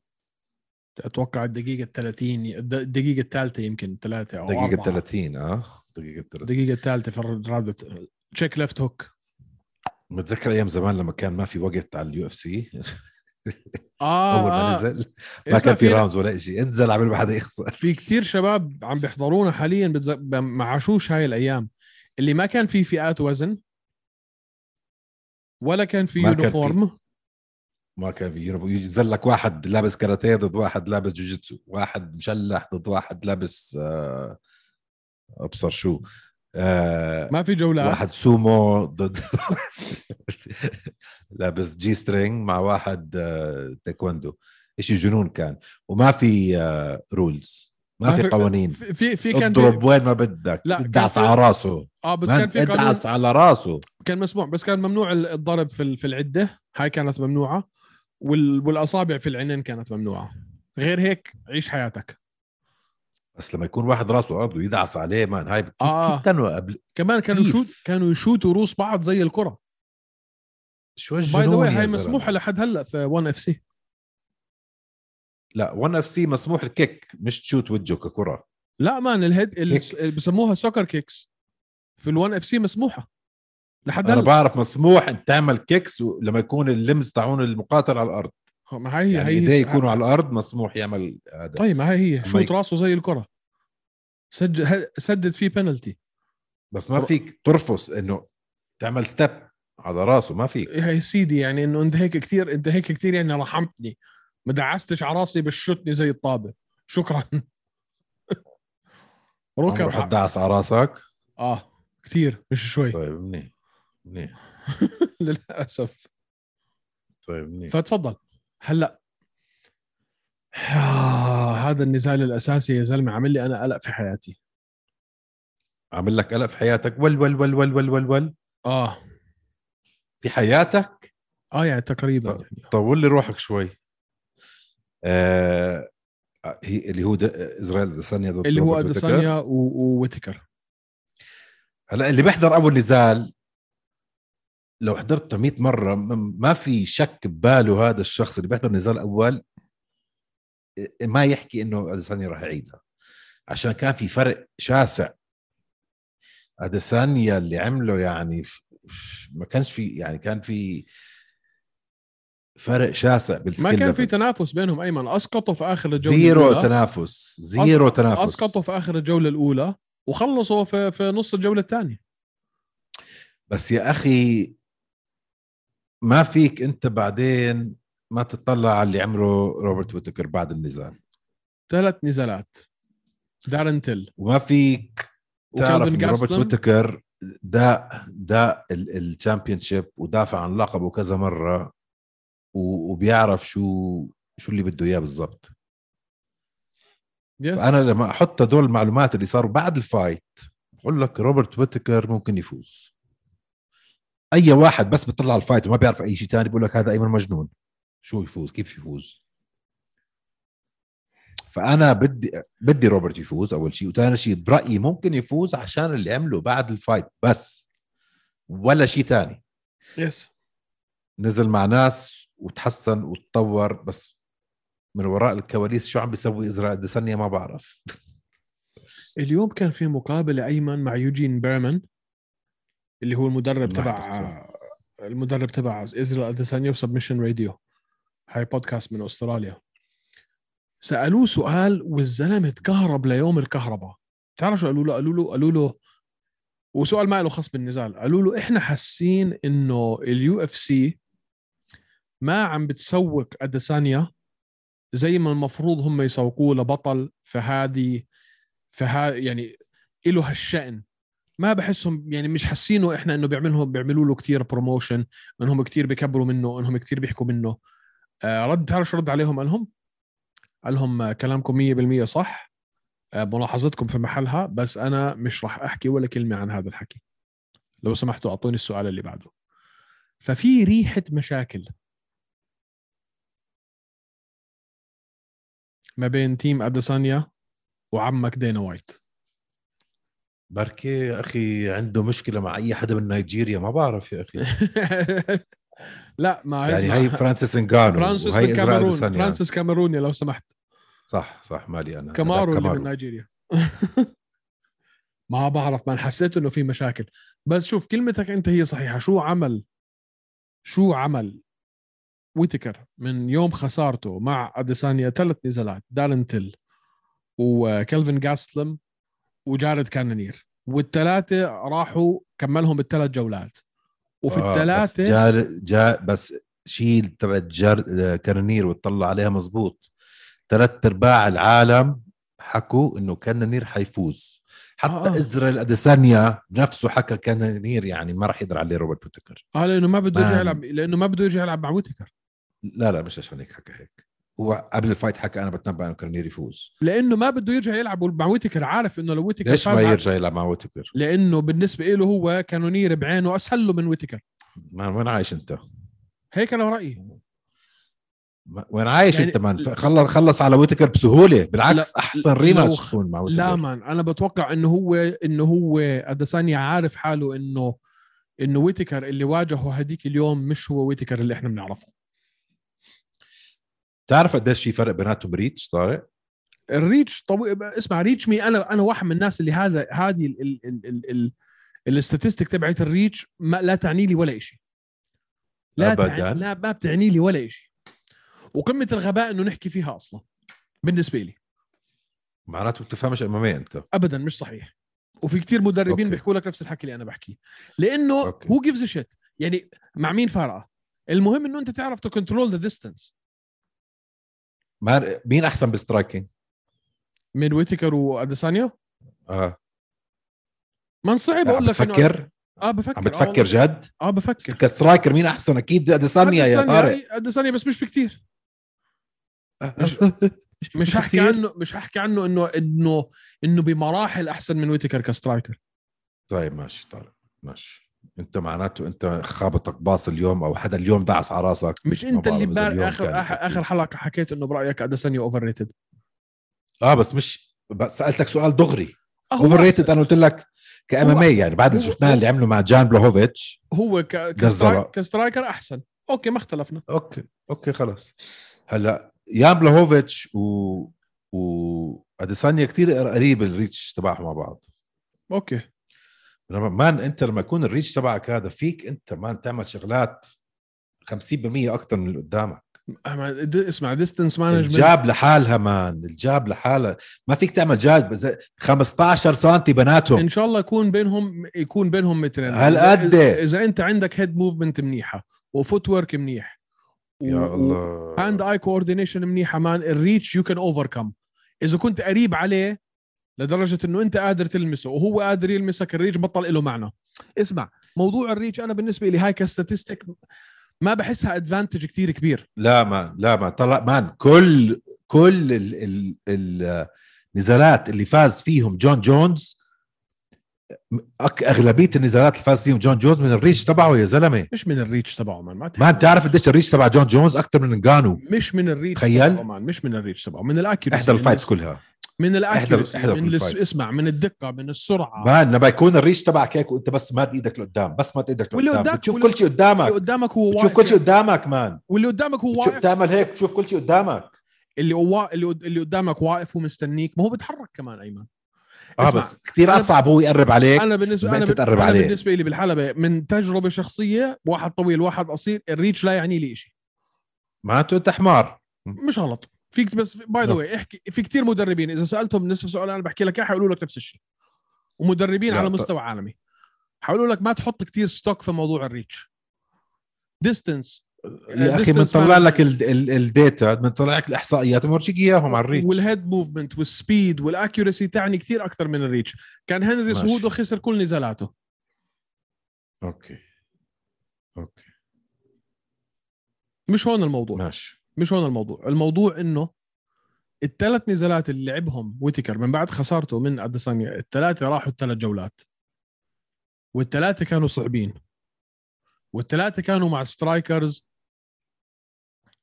Speaker 2: اتوقع الدقيقه 30 الد- الدقيقه الثالثه يمكن ثلاثه او
Speaker 3: دقيقه
Speaker 2: أربعة.
Speaker 3: 30 اه دقيقه 30
Speaker 2: الدقيقه الثالثه في الراوند تشيك ليفت هوك
Speaker 3: متذكر ايام زمان لما كان ما في وقت على اليو اف سي
Speaker 2: اه
Speaker 3: اول ما
Speaker 2: آه.
Speaker 3: نزل ما
Speaker 2: اسمع،
Speaker 3: كان في راوندز ولا شيء انزل قبل ما حدا يخسر
Speaker 2: في كثير شباب عم بيحضرونا حاليا بتز... ب- ما عاشوش هاي الايام اللي ما كان في فئات وزن ولا كان في
Speaker 3: ما كان في.
Speaker 2: يونيفورم
Speaker 3: ما كان في يونيفورم ينزل لك واحد لابس كاراتيه ضد واحد لابس جوجيتسو واحد مشلح ضد واحد لابس آه، ابصر شو آه،
Speaker 2: ما في جولات
Speaker 3: واحد سومو ضد لابس جي سترينج مع واحد آه، تايكوندو شيء جنون كان وما في آه، رولز ما,
Speaker 2: ما
Speaker 3: في
Speaker 2: في-
Speaker 3: قوانين
Speaker 2: في في- في كان في
Speaker 3: اضرب وين ما بدك
Speaker 2: لا، كان
Speaker 3: ادعس
Speaker 2: في-
Speaker 3: على راسه
Speaker 2: اه بس
Speaker 3: من
Speaker 2: كان في قانون
Speaker 3: ادعس على راسه
Speaker 2: كان مسموح بس كان ممنوع ال- الضرب في ال- في العده هاي كانت ممنوعه وال... والاصابع في العينين كانت ممنوعه غير هيك عيش حياتك
Speaker 3: بس لما يكون واحد راسه ارض ويدعس عليه مان هاي كيف,
Speaker 2: آه.
Speaker 3: كيف كانوا قبل
Speaker 2: كمان كانوا
Speaker 3: كيف؟
Speaker 2: يشوت كانوا يشوتوا روس بعض زي الكره
Speaker 3: شو
Speaker 2: باي ذا
Speaker 3: هالجنون
Speaker 2: واي
Speaker 3: يا
Speaker 2: هاي
Speaker 3: زلمة؟
Speaker 2: مسموحه لحد هلا في 1 اف سي
Speaker 3: لا 1 اف سي مسموح الكيك مش تشوت وجهه ككره
Speaker 2: لا مان الهيد ال-
Speaker 3: هيك.
Speaker 2: اللي بسموها سوكر كيكس في ال1 اف سي مسموحه لحد
Speaker 3: انا
Speaker 2: هلا
Speaker 3: بعرف مسموح انت تعمل كيكس و- لما يكون اللمز تاعون المقاتل على الارض
Speaker 2: ما هي
Speaker 3: يعني
Speaker 2: هي
Speaker 3: ايديه
Speaker 2: هي
Speaker 3: يكونوا على الارض مسموح يعمل هذا
Speaker 2: طيب ما هي هي شوت
Speaker 3: يك-
Speaker 2: راسه زي الكره سجل ه- سدد فيه بنالتي
Speaker 3: بس ما فيك ترفس انه تعمل ستيب على راسه ما فيك
Speaker 2: يا سيدي يعني انه انت هيك كثير انت هيك كثير يعني رحمتني ما دعستش على راسي بالشتني زي الطابه شكرا
Speaker 3: عمره حد
Speaker 2: ركب
Speaker 3: دعس على راسك
Speaker 2: اه كثير مش شوي
Speaker 3: طيب منيح منيح
Speaker 2: للاسف
Speaker 3: طيب منيح
Speaker 2: فتفضل هلا آه، هذا النزال الاساسي يا زلمه عامل لي انا قلق في حياتي
Speaker 3: عامل لك قلق في حياتك ول ول ول ول ول ول ول
Speaker 2: اه
Speaker 3: في حياتك
Speaker 2: اه يعني تقريبا
Speaker 3: طيب.
Speaker 2: يعني.
Speaker 3: طول لي روحك شوي آه هي اللي هو د- اسرائيل اديسانيا ضد
Speaker 2: اللي هو
Speaker 3: روبرت ويتكر.
Speaker 2: اديسانيا و- وويتكر
Speaker 3: هلا اللي بيحضر اول نزال لو حضرته 100 مره م- ما في شك بباله هذا الشخص اللي بيحضر نزال اول إيه، ما يحكي انه اديسانيا راح يعيدها عشان كان في فرق شاسع اديسانيا اللي عمله يعني ف- ف- ما كانش في يعني كان في فرق شاسع
Speaker 2: ما
Speaker 3: بالسكيل
Speaker 2: كان في
Speaker 3: ليفل.
Speaker 2: تنافس بينهم ايمن اسقطوا في اخر الجوله
Speaker 3: زيرو
Speaker 2: الأولى.
Speaker 3: تنافس زيرو تنافس
Speaker 2: اسقطوا في اخر الجوله الاولى وخلصوا في, في نص الجوله الثانيه
Speaker 3: بس يا اخي ما فيك انت بعدين ما تطلع على اللي عمله روبرت ويتكر بعد النزال
Speaker 2: ثلاث نزالات دارن تيل
Speaker 3: وما فيك تعرف
Speaker 2: وكالفن
Speaker 3: إن روبرت
Speaker 2: جاسلم
Speaker 3: ويتكر داء داء الشامبيون شيب ودافع عن لقبه كذا مره و- وبيعرف شو شو اللي بده اياه بالضبط
Speaker 2: يس.
Speaker 3: فانا لما احط هدول المعلومات اللي صاروا بعد الفايت بقول لك روبرت ويتكر ممكن يفوز اي واحد بس بيطلع على الفايت وما بيعرف اي شيء تاني بقول لك هذا ايمن مجنون شو يفوز كيف يفوز فانا بدي بدي روبرت يفوز اول شيء وثاني شيء برايي ممكن يفوز عشان اللي عمله بعد الفايت بس ولا شيء تاني
Speaker 2: يس
Speaker 3: نزل مع ناس وتحسن وتطور بس من وراء الكواليس شو عم بيسوي ازراء ديسانيا ما بعرف
Speaker 2: اليوم كان في مقابله ايمن مع يوجين بيرمان اللي هو المدرب
Speaker 3: ما
Speaker 2: تبع
Speaker 3: حضرته.
Speaker 2: المدرب تبع ازرائيل اديسانيا وسبمشن راديو هاي بودكاست من استراليا سالوه سؤال والزلمه تكهرب ليوم الكهرباء بتعرف شو قالوا له قالوا له قالوا له وسؤال ما له خص بالنزال قالوا له احنا حاسين انه اليو اف سي ما عم بتسوق اديسانيا زي ما المفروض هم يسوقوه لبطل في هذه في ها يعني له هالشأن ما بحسهم يعني مش حاسينه احنا انه بيعملوا بيعملوا له كثير بروموشن انهم كثير بيكبروا منه انهم كثير بيحكوا منه آه رد تعرف شو رد عليهم قال لهم قال لهم آه، كلامكم 100% صح آه ملاحظتكم في محلها بس انا مش راح احكي ولا كلمه عن هذا الحكي لو سمحتوا اعطوني السؤال اللي بعده ففي ريحه مشاكل ما بين تيم اديسانيا وعمك دينا وايت
Speaker 3: بركي يا اخي عنده مشكله مع اي حدا من نيجيريا ما بعرف يا اخي
Speaker 2: لا ما
Speaker 3: يعني
Speaker 2: اسمع.
Speaker 3: هي فرانسيس انغانو
Speaker 2: فرانسيس
Speaker 3: وهي
Speaker 2: من
Speaker 3: إزراء
Speaker 2: كاميرون
Speaker 3: أديسانيا.
Speaker 2: فرانسيس كاميروني لو سمحت
Speaker 3: صح صح مالي انا
Speaker 2: كامارو
Speaker 3: هذا
Speaker 2: اللي من نيجيريا ما بعرف ما حسيت انه في مشاكل بس شوف كلمتك انت هي صحيحه شو عمل شو عمل ويتكر من يوم خسارته مع اديسانيا ثلاث نزالات دالنتل وكلفن جاستلم وجارد كانونير والثلاثه راحوا كملهم الثلاث جولات وفي
Speaker 3: آه، بس
Speaker 2: الثلاثه
Speaker 3: جا جا بس شيل تبعت جر... كرنير وتطلع عليها مزبوط ثلاث ارباع العالم حكوا انه كانونير حيفوز حتى
Speaker 2: آه.
Speaker 3: آه. اسرائيل اديسانيا نفسه حكى كانونير يعني ما راح يقدر عليه روبرت بوتكر
Speaker 2: اه لانه ما بده يرجع
Speaker 3: مان.
Speaker 2: يلعب لانه ما بده يرجع يلعب مع ويتكر
Speaker 3: لا لا مش عشان هيك حكى هيك هو قبل الفايت حكى انا بتنبأ انه كرنير يفوز
Speaker 2: لانه ما بده يرجع يلعب مع ويتكر عارف انه لو ويتكر
Speaker 3: ليش ما
Speaker 2: على-
Speaker 3: يرجع يلعب مع بوتكر
Speaker 2: لانه بالنسبه له هو كانونير بعينه اسهل له من ويتكر
Speaker 3: مان وين عايش انت
Speaker 2: هيك انا رايي
Speaker 3: ما- وين عايش
Speaker 2: يعني-
Speaker 3: يعني انت مان خلص خلص على ويتكر بسهوله بالعكس احسن
Speaker 2: لو-
Speaker 3: ريماتش تكون مع
Speaker 2: لا
Speaker 3: ويتكر
Speaker 2: مان انا بتوقع انه هو انه هو اديسانيا عارف حاله انه انه ويتكر اللي واجهه هديك اليوم مش هو ويتكر اللي احنا بنعرفه
Speaker 3: بتعرف قديش في فرق بيناتهم ريتش طارق
Speaker 2: الريتش طب اسمع ريتش مي انا انا واحد من الناس اللي هذا هذه ال ال ال ال ال الاستاتستيك تبعت الريتش ما لا تعني لي ولا شيء لا
Speaker 3: أبداً.
Speaker 2: تعني لا ما بتعني لي ولا شيء وقمه الغباء انه نحكي فيها اصلا بالنسبه لي
Speaker 3: معناته بتفهمش امامي انت
Speaker 2: ابدا مش صحيح وفي كتير مدربين
Speaker 3: أوكي.
Speaker 2: بيحكوا لك نفس الحكي اللي انا بحكيه لانه
Speaker 3: أوكي.
Speaker 2: هو جيفز شيت يعني مع مين فارقه المهم انه انت تعرف تو كنترول ذا ديستانس
Speaker 3: ما مين احسن بالسترايكينج
Speaker 2: من ويتكر واديسانيا
Speaker 3: اه
Speaker 2: ما صعب
Speaker 3: لا،
Speaker 2: اقول
Speaker 3: عم
Speaker 2: طيب، لك إنه-
Speaker 3: بتفكر
Speaker 2: اه بفكر
Speaker 3: عم
Speaker 2: آه
Speaker 3: بتفكر جد
Speaker 2: اه بفكر
Speaker 3: كسترايكر مين احسن اكيد اديسانيا يا
Speaker 2: أديسانيا-
Speaker 3: طارق
Speaker 2: اديسانيا بس مش بكتير مش
Speaker 3: مش
Speaker 2: هحكي
Speaker 3: كتير.
Speaker 2: عنه مش هحكي عنه انه انه انه بمراحل احسن من ويتكر كسترايكر
Speaker 3: طيب ماشي طارق ماشي انت معناته انت خابطك باص اليوم او حدا اليوم دعس على راسك
Speaker 2: مش
Speaker 3: ما
Speaker 2: انت
Speaker 3: بعرف
Speaker 2: اللي
Speaker 3: إذا اليوم
Speaker 2: امبارح اخر
Speaker 3: كان
Speaker 2: آخر-
Speaker 3: حكي.
Speaker 2: اخر حلقه حكيت انه برايك اديسانيا اوفر ريتد
Speaker 3: اه بس مش بس سالتك سؤال دغري اوفر ريتد انا قلت لك كام ام
Speaker 2: هو-
Speaker 3: اي يعني بعد اللي
Speaker 2: هو-
Speaker 3: شفناه اللي عمله مع جان بلوهوفيتش
Speaker 2: هو ك...
Speaker 3: جزرة.
Speaker 2: كسترايك... كسترايكر احسن اوكي ما اختلفنا
Speaker 3: اوكي اوكي خلاص هلا جان بلوهوفيتش و و اديسانيا كثير قريب الريتش تبعهم مع بعض
Speaker 2: اوكي
Speaker 3: لما مان انت لما يكون الريتش تبعك هذا فيك انت مان تعمل شغلات 50% اكثر من اللي قدامك
Speaker 2: أما د- اسمع ديستنس مانجمنت
Speaker 3: الجاب لحالها مان الجاب لحالها ما فيك تعمل جاب زي 15 سم بناتهم
Speaker 2: ان شاء الله يكون بينهم يكون بينهم مترين
Speaker 3: هالقد؟
Speaker 2: اذا إذا انت عندك هيد موفمنت منيحه وفوت ورك منيح
Speaker 3: يا الله
Speaker 2: هاند اي كوردينيشن منيحه مان الريتش يو كان اوفركم اذا كنت قريب عليه لدرجه انه انت قادر تلمسه وهو قادر يلمسك الريتش بطل له معنى اسمع موضوع الريتش انا بالنسبه لي هاي كستاتستيك ما بحسها ادفانتج كتير كبير
Speaker 3: لا مان لا مان طلع مان كل كل ال ال ال النزالات اللي فاز فيهم جون جونز أك اغلبيه النزالات اللي فاز فيهم جون جونز من الريتش تبعه يا زلمه
Speaker 2: مش من الريتش تبعه مان ما تحكي.
Speaker 3: ما انت عارف قديش الريتش تبع جون جونز اكثر من انجانو
Speaker 2: مش من الريتش
Speaker 3: تخيل.
Speaker 2: تبعه مان مش من الريتش تبعه من الاكيورسي
Speaker 3: احدى
Speaker 2: من-
Speaker 3: الفايتس كلها
Speaker 2: من الاكيورسي
Speaker 3: إحدى- إحدى
Speaker 2: من الس...
Speaker 3: الفايتس.
Speaker 2: اسمع من الدقه من السرعه
Speaker 3: مان لما يكون الريتش تبعك هيك وانت بس ماد ايدك لقدام بس ماد ايدك
Speaker 2: واللي
Speaker 3: لقدام
Speaker 2: قدامك-
Speaker 3: بتشوف
Speaker 2: واللي-
Speaker 3: كل شيء
Speaker 2: اللي
Speaker 3: قدامك
Speaker 2: قدامك هو
Speaker 3: بتشوف
Speaker 2: واقف
Speaker 3: كل شيء قدامك مان
Speaker 2: واللي قدامك هو
Speaker 3: بتشوف
Speaker 2: واقف
Speaker 3: تعمل هيك بتشوف كل شيء قدامك
Speaker 2: اللي وا... اللي قد- اللي قدامك واقف ومستنيك ما هو بيتحرك كمان ايمن
Speaker 3: اه
Speaker 2: اسمع،
Speaker 3: بس كثير اصعب هو يقرب عليك
Speaker 2: انا بالنسبه
Speaker 3: إيه؟ ما
Speaker 2: انا,
Speaker 3: أنت
Speaker 2: بال-
Speaker 3: تقرب
Speaker 2: أنا
Speaker 3: عليه.
Speaker 2: بالنسبه لي بالحلبه من تجربه شخصيه واحد طويل واحد قصير الريتش لا يعني لي شيء
Speaker 3: معناته انت حمار
Speaker 2: مش غلط فيك بس باي ذا
Speaker 3: لا.
Speaker 2: واي احكي في كتير مدربين اذا سالتهم نفس السؤال انا بحكي لك اياه حيقولوا لك نفس الشيء ومدربين
Speaker 3: لا،
Speaker 2: على
Speaker 3: ط-
Speaker 2: مستوى عالمي حيقولوا لك ما تحط كتير ستوك في موضوع الريتش ديستنس
Speaker 3: يا اخي بنطلع لك ال- ال- الداتا بنطلع لك الاحصائيات بنورجيك اياهم على الريتش
Speaker 2: والهيد موفمنت والسبيد والاكيورسي تعني كثير اكثر من الريتش كان هنري
Speaker 3: ماشي.
Speaker 2: سهودو خسر كل نزالاته
Speaker 3: اوكي اوكي
Speaker 2: مش هون الموضوع
Speaker 3: ماشي
Speaker 2: مش هون الموضوع الموضوع انه الثلاث نزالات اللي لعبهم ويتكر من بعد خسارته من اديسانيا الثلاثه راحوا الثلاث جولات والثلاثه كانوا صعبين والثلاثه كانوا مع سترايكرز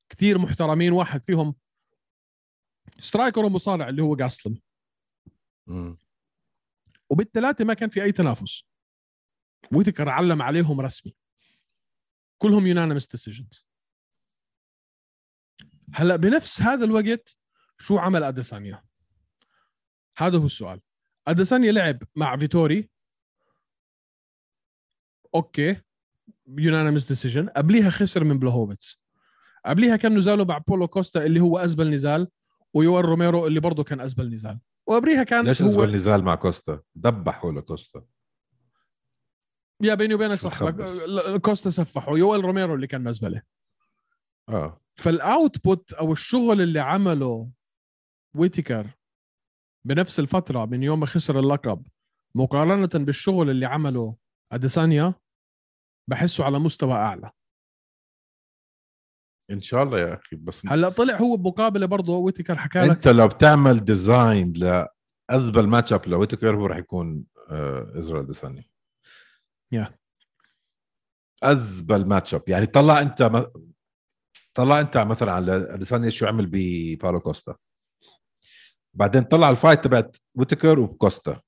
Speaker 2: كثير محترمين واحد فيهم سترايكر ومصارع اللي هو جاسلم
Speaker 3: مم.
Speaker 2: وبالثلاثه ما كان في اي تنافس ويتكر علم عليهم رسمي كلهم يونانيمس ديسيجنز هلا بنفس هذا الوقت شو عمل اديسانيا هذا هو السؤال اديسانيا لعب مع فيتوري اوكي يونانيمس ديسيجن قبليها خسر من بلاهوفيتس قبليها كان نزاله مع بولو كوستا اللي هو ازبل نزال ويوان روميرو اللي برضه كان ازبل نزال وقبليها كان
Speaker 3: ليش
Speaker 2: هو-
Speaker 3: نزل النزال مع كوستا دبحوا لكوستا
Speaker 2: يا بيني وبينك
Speaker 3: شو
Speaker 2: صح لك
Speaker 3: تخبص؟
Speaker 2: ل- كوستا سفحوا يويل روميرو اللي كان مزبله
Speaker 3: اه
Speaker 2: فالاوتبوت او الشغل اللي عمله ويتيكر بنفس الفتره من يوم ما خسر اللقب مقارنه بالشغل اللي عمله اديسانيا بحسه على مستوى اعلى
Speaker 3: ان شاء الله يا اخي بس
Speaker 2: هلا طلع هو بمقابله برضه ويتيكر حكى لك
Speaker 3: انت لو بتعمل ديزاين لازبل ماتش اب لويتكر هو راح يكون آه، ازرائيل ديسانيا
Speaker 2: Yeah.
Speaker 3: ازبل ماتش اب يعني طلع انت م... طلع انت مثلا على ديسانيا شو عمل ببالو كوستا بعدين طلع الفايت تبعت ويتكر وكوستا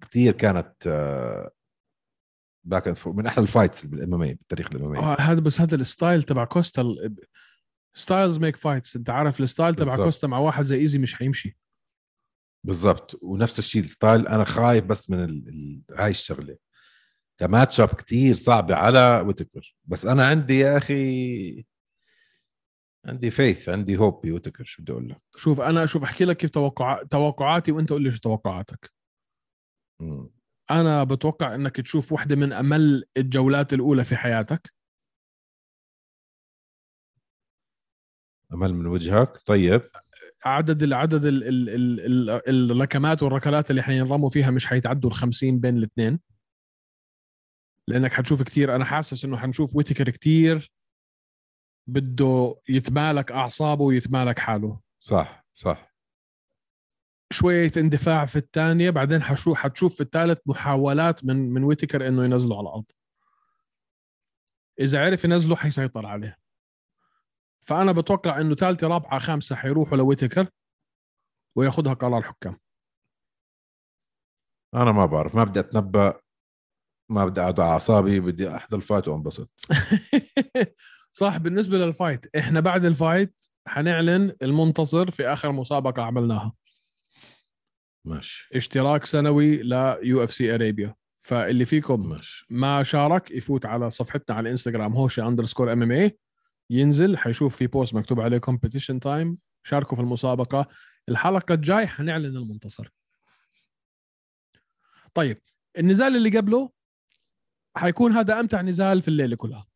Speaker 3: كثير كانت آه، باك اند من احلى الفايتس بالام ام اي بالتاريخ الام ام
Speaker 2: آه، هذا بس هذا الستايل تبع كوستا ال- ستايلز ميك فايتس انت عارف الستايل تبع
Speaker 3: بالضبط.
Speaker 2: كوستا مع واحد زي ايزي مش حيمشي
Speaker 3: بالضبط ونفس الشيء الستايل انا خايف بس من ال... ال... هاي الشغله كماتش اب كثير صعبه على ويتكر بس انا عندي يا اخي عندي فيث عندي هوب بويتكر شو بدي اقول لك
Speaker 2: شوف انا شوف احكي لك كيف توقع... توقعاتي وانت قول لي شو توقعاتك
Speaker 3: مم.
Speaker 2: انا بتوقع انك تشوف واحده من امل الجولات الاولى في حياتك
Speaker 3: امل من وجهك طيب
Speaker 2: عدد العدد ال... ال... ال... ال... الركمات والركلات اللي حينرموا فيها مش حيتعدوا ال 50 بين الاثنين لانك حتشوف كتير انا حاسس انه حنشوف ويتكر كتير بده يتمالك اعصابه ويتمالك حاله
Speaker 3: صح صح
Speaker 2: شويه اندفاع في الثانيه بعدين حشو حتشوف في الثالث محاولات من من ويتكر انه ينزله على الارض اذا عرف ينزله حيسيطر عليه فانا بتوقع انه ثالثه رابعه خامسه حيروحوا لويتكر وياخذها قرار حكام
Speaker 3: انا ما بعرف ما بدي اتنبا ما بدي اقعد على اعصابي بدي احضر الفايت وانبسط
Speaker 2: صح بالنسبه للفايت احنا بعد الفايت حنعلن المنتصر في اخر مسابقه عملناها
Speaker 3: ماشي
Speaker 2: اشتراك سنوي ليو اف سي اريبيا فاللي فيكم
Speaker 3: ماشي
Speaker 2: ما شارك يفوت على صفحتنا على الانستغرام هوشي اندرسكور ام ام اي ينزل حيشوف في بوست مكتوب عليه كومبيتيشن تايم شاركوا في المسابقه الحلقه الجاي حنعلن المنتصر طيب النزال اللي قبله حيكون هذا امتع نزال في الليله كلها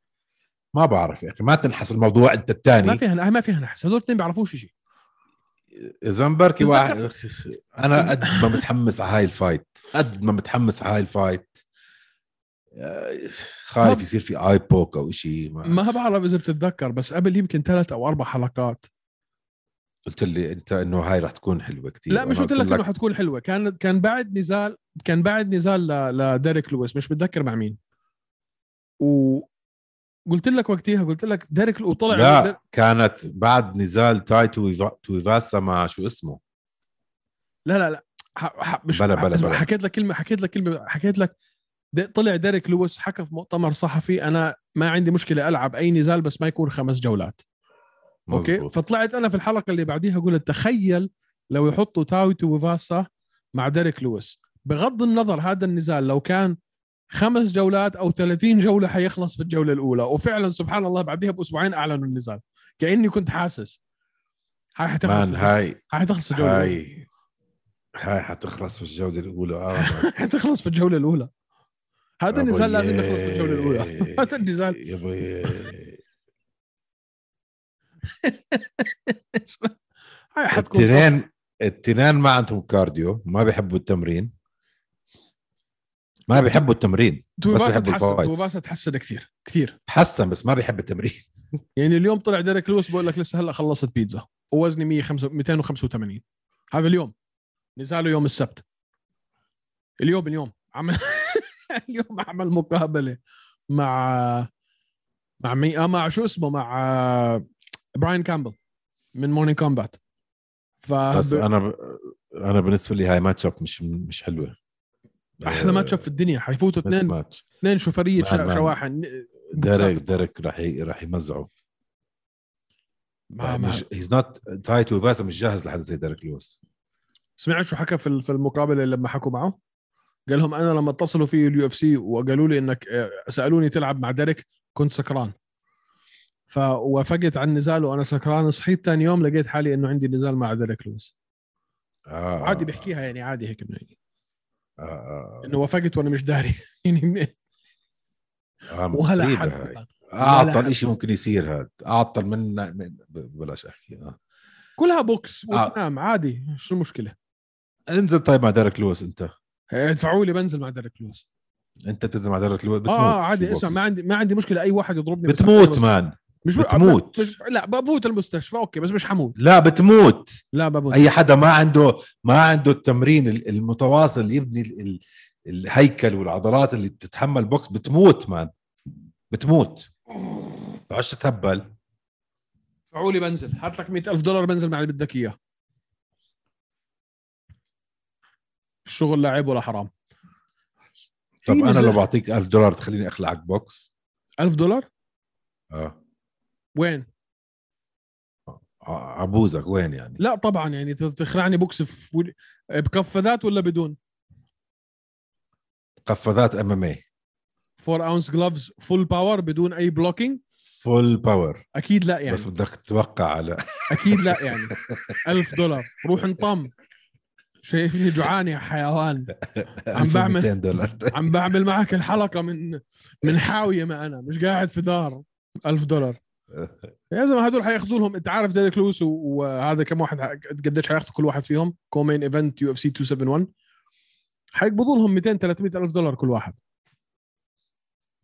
Speaker 3: ما بعرف يا اخي ما تنحس الموضوع انت الثاني
Speaker 2: ما فيها ما فيها نحس هذول الاثنين بيعرفوش شيء
Speaker 3: اذا بركي واحد
Speaker 2: تتذكر-
Speaker 3: انا قد ما متحمس على هاي الفايت قد ما متحمس على هاي الفايت آه، خايف
Speaker 2: طب.
Speaker 3: يصير في اي بوك او شيء ما
Speaker 2: ما بعرف اذا بتتذكر بس قبل يمكن ثلاث او اربع حلقات
Speaker 3: قلت لي انت انه هاي رح تكون حلوه كثير
Speaker 2: لا مش قلت لك انه حتكون حلوه كان كان بعد نزال كان بعد نزال ل- لديريك لويس مش متذكر مع مين وقلت لك وقتها قلت لك ديريك لو طلع
Speaker 3: لا كانت بعد نزال تايتو تويفاسا مع شو اسمه
Speaker 2: لا لا, لا. ح... ح... مش
Speaker 3: بلا- بلا-
Speaker 2: اسمع،
Speaker 3: بلا.
Speaker 2: حكيت لك كلمه حكيت لك كلمه حكيت لك دي... طلع ديريك لويس حكى في مؤتمر صحفي انا ما عندي مشكله العب اي نزال بس ما يكون خمس جولات اوكي
Speaker 3: مزبوط.
Speaker 2: فطلعت انا في الحلقه اللي بعديها قلت تخيل لو يحطوا تاوتو وفاسا مع ديريك لويس بغض النظر هذا النزال لو كان خمس جولات او 30 جوله حيخلص في الجوله الاولى وفعلا سبحان الله بعديها باسبوعين اعلنوا النزال كاني كنت حاسس هاي حتخلص
Speaker 3: مان
Speaker 2: في الجولة-
Speaker 3: هاي
Speaker 2: هاي حتخلص في الجوله الأولى.
Speaker 3: هاي هاي حتخلص في الجوله الاولى آه.
Speaker 2: حتخلص في الجوله الاولى هذا النزال
Speaker 3: أبوي.
Speaker 2: لازم يخلص في الجوله الاولى هذا النزال
Speaker 3: يا أبوي.
Speaker 2: هاي حتكون
Speaker 3: التنين التنين ما عندهم كارديو ما بيحبوا التمرين ما بيحبوا التمرين بس
Speaker 2: توباسا
Speaker 3: بحب
Speaker 2: تحسن
Speaker 3: الفوائد.
Speaker 2: توباسا تحسن كثير كثير
Speaker 3: تحسن بس ما بيحب التمرين
Speaker 2: يعني اليوم طلع ديريك لويس بقول لك لسه هلا خلصت بيتزا ووزني 105 285 هذا اليوم نزاله يوم السبت اليوم اليوم عمل اليوم عمل مقابله مع مع مي... آه مع شو اسمه مع آه، براين كامبل من مورنينج كومبات ف
Speaker 3: بس انا ب... انا بالنسبه لي هاي ماتش اب مش مش آه، حلوه
Speaker 2: احلى ماتش أب في الدنيا حيفوتوا
Speaker 3: مس
Speaker 2: اثنين
Speaker 3: ماتش
Speaker 2: اثنين شوفريه
Speaker 3: مان-
Speaker 2: شا-
Speaker 3: مان.
Speaker 2: شواحن
Speaker 3: ديريك ديريك راح ي... راح يمزعه آه،
Speaker 2: ما ما
Speaker 3: مش هيز نوت تايتو باسم مش جاهز لحد زي ديريك لويس
Speaker 2: سمعت شو حكى في ال- في المقابله لما حكوا معه؟ قال لهم انا لما اتصلوا في اليو اف سي وقالوا لي انك آه، سالوني تلعب مع ديريك كنت سكران فوافقت على النزال وانا سكران صحيت ثاني يوم لقيت حالي انه عندي نزال مع ديريك لويس
Speaker 3: آه.
Speaker 2: عادي بحكيها يعني عادي هيك انه يعني
Speaker 3: آه. آه.
Speaker 2: انه وافقت وانا مش داري يعني
Speaker 3: آه.
Speaker 2: ولا
Speaker 3: مصيبة
Speaker 2: حد
Speaker 3: هاي.
Speaker 2: كان-
Speaker 3: اعطل شيء ممكن يصير هذا اعطل منا من بلاش احكي اه
Speaker 2: كلها بوكس
Speaker 3: آه.
Speaker 2: وتنام عادي شو المشكله
Speaker 3: انزل طيب مع ديريك لويس انت إيه.
Speaker 2: ادفعوا لي بنزل مع ديريك لويس
Speaker 3: انت تنزل مع ديريك لويس
Speaker 2: اه
Speaker 3: بتموت
Speaker 2: آه، عادي
Speaker 3: شو
Speaker 2: اسمع ما
Speaker 3: بوكس.
Speaker 2: عندي ما عندي مشكله اي واحد يضربني بس
Speaker 3: بتموت
Speaker 2: بس-
Speaker 3: مان
Speaker 2: مش
Speaker 3: بتموت.
Speaker 2: مش لا بفوت المستشفى اوكي بس مش حموت
Speaker 3: لا بتموت
Speaker 2: لا بفوت
Speaker 3: اي حدا ما عنده ما عنده التمرين ال- المتواصل اللي يبني ال- ال- الهيكل والعضلات اللي تتحمل بوكس بتموت مان بتموت عش تهبل
Speaker 2: ادفعوا لي بنزل هات لك 100000 دولار بنزل مع اللي بدك اياه الشغل لا عيب ولا حرام في
Speaker 3: طب انا
Speaker 2: نزاع.
Speaker 3: لو بعطيك 1000 دولار تخليني اخلعك بوكس
Speaker 2: 1000 دولار
Speaker 3: اه
Speaker 2: وين
Speaker 3: ع- عبوزك آه، وين يعني
Speaker 2: لا طبعا يعني ت- تخلعني بوكس في ول- بقفازات ولا بدون
Speaker 3: قفازات ام ام اي
Speaker 2: 4 اونس جلوفز فول باور بدون اي بلوكينج
Speaker 3: فول باور
Speaker 2: اكيد لا يعني
Speaker 3: بس بدك تتوقع على
Speaker 2: اكيد لا يعني ألف دولار روح انطم شايفني جوعان يا حيوان عم بعمل-
Speaker 3: 1200 دولار
Speaker 2: عم بعمل معك الحلقه من من حاويه ما انا مش قاعد في دار ألف دولار يا زلمه هدول حياخذوا لهم انت عارف ديريك لويس و- وهذا كم واحد ح- قديش حياخذوا كل واحد فيهم كومين ايفنت يو اف سي 271 حيقبضوا لهم 200 300 الف دولار كل واحد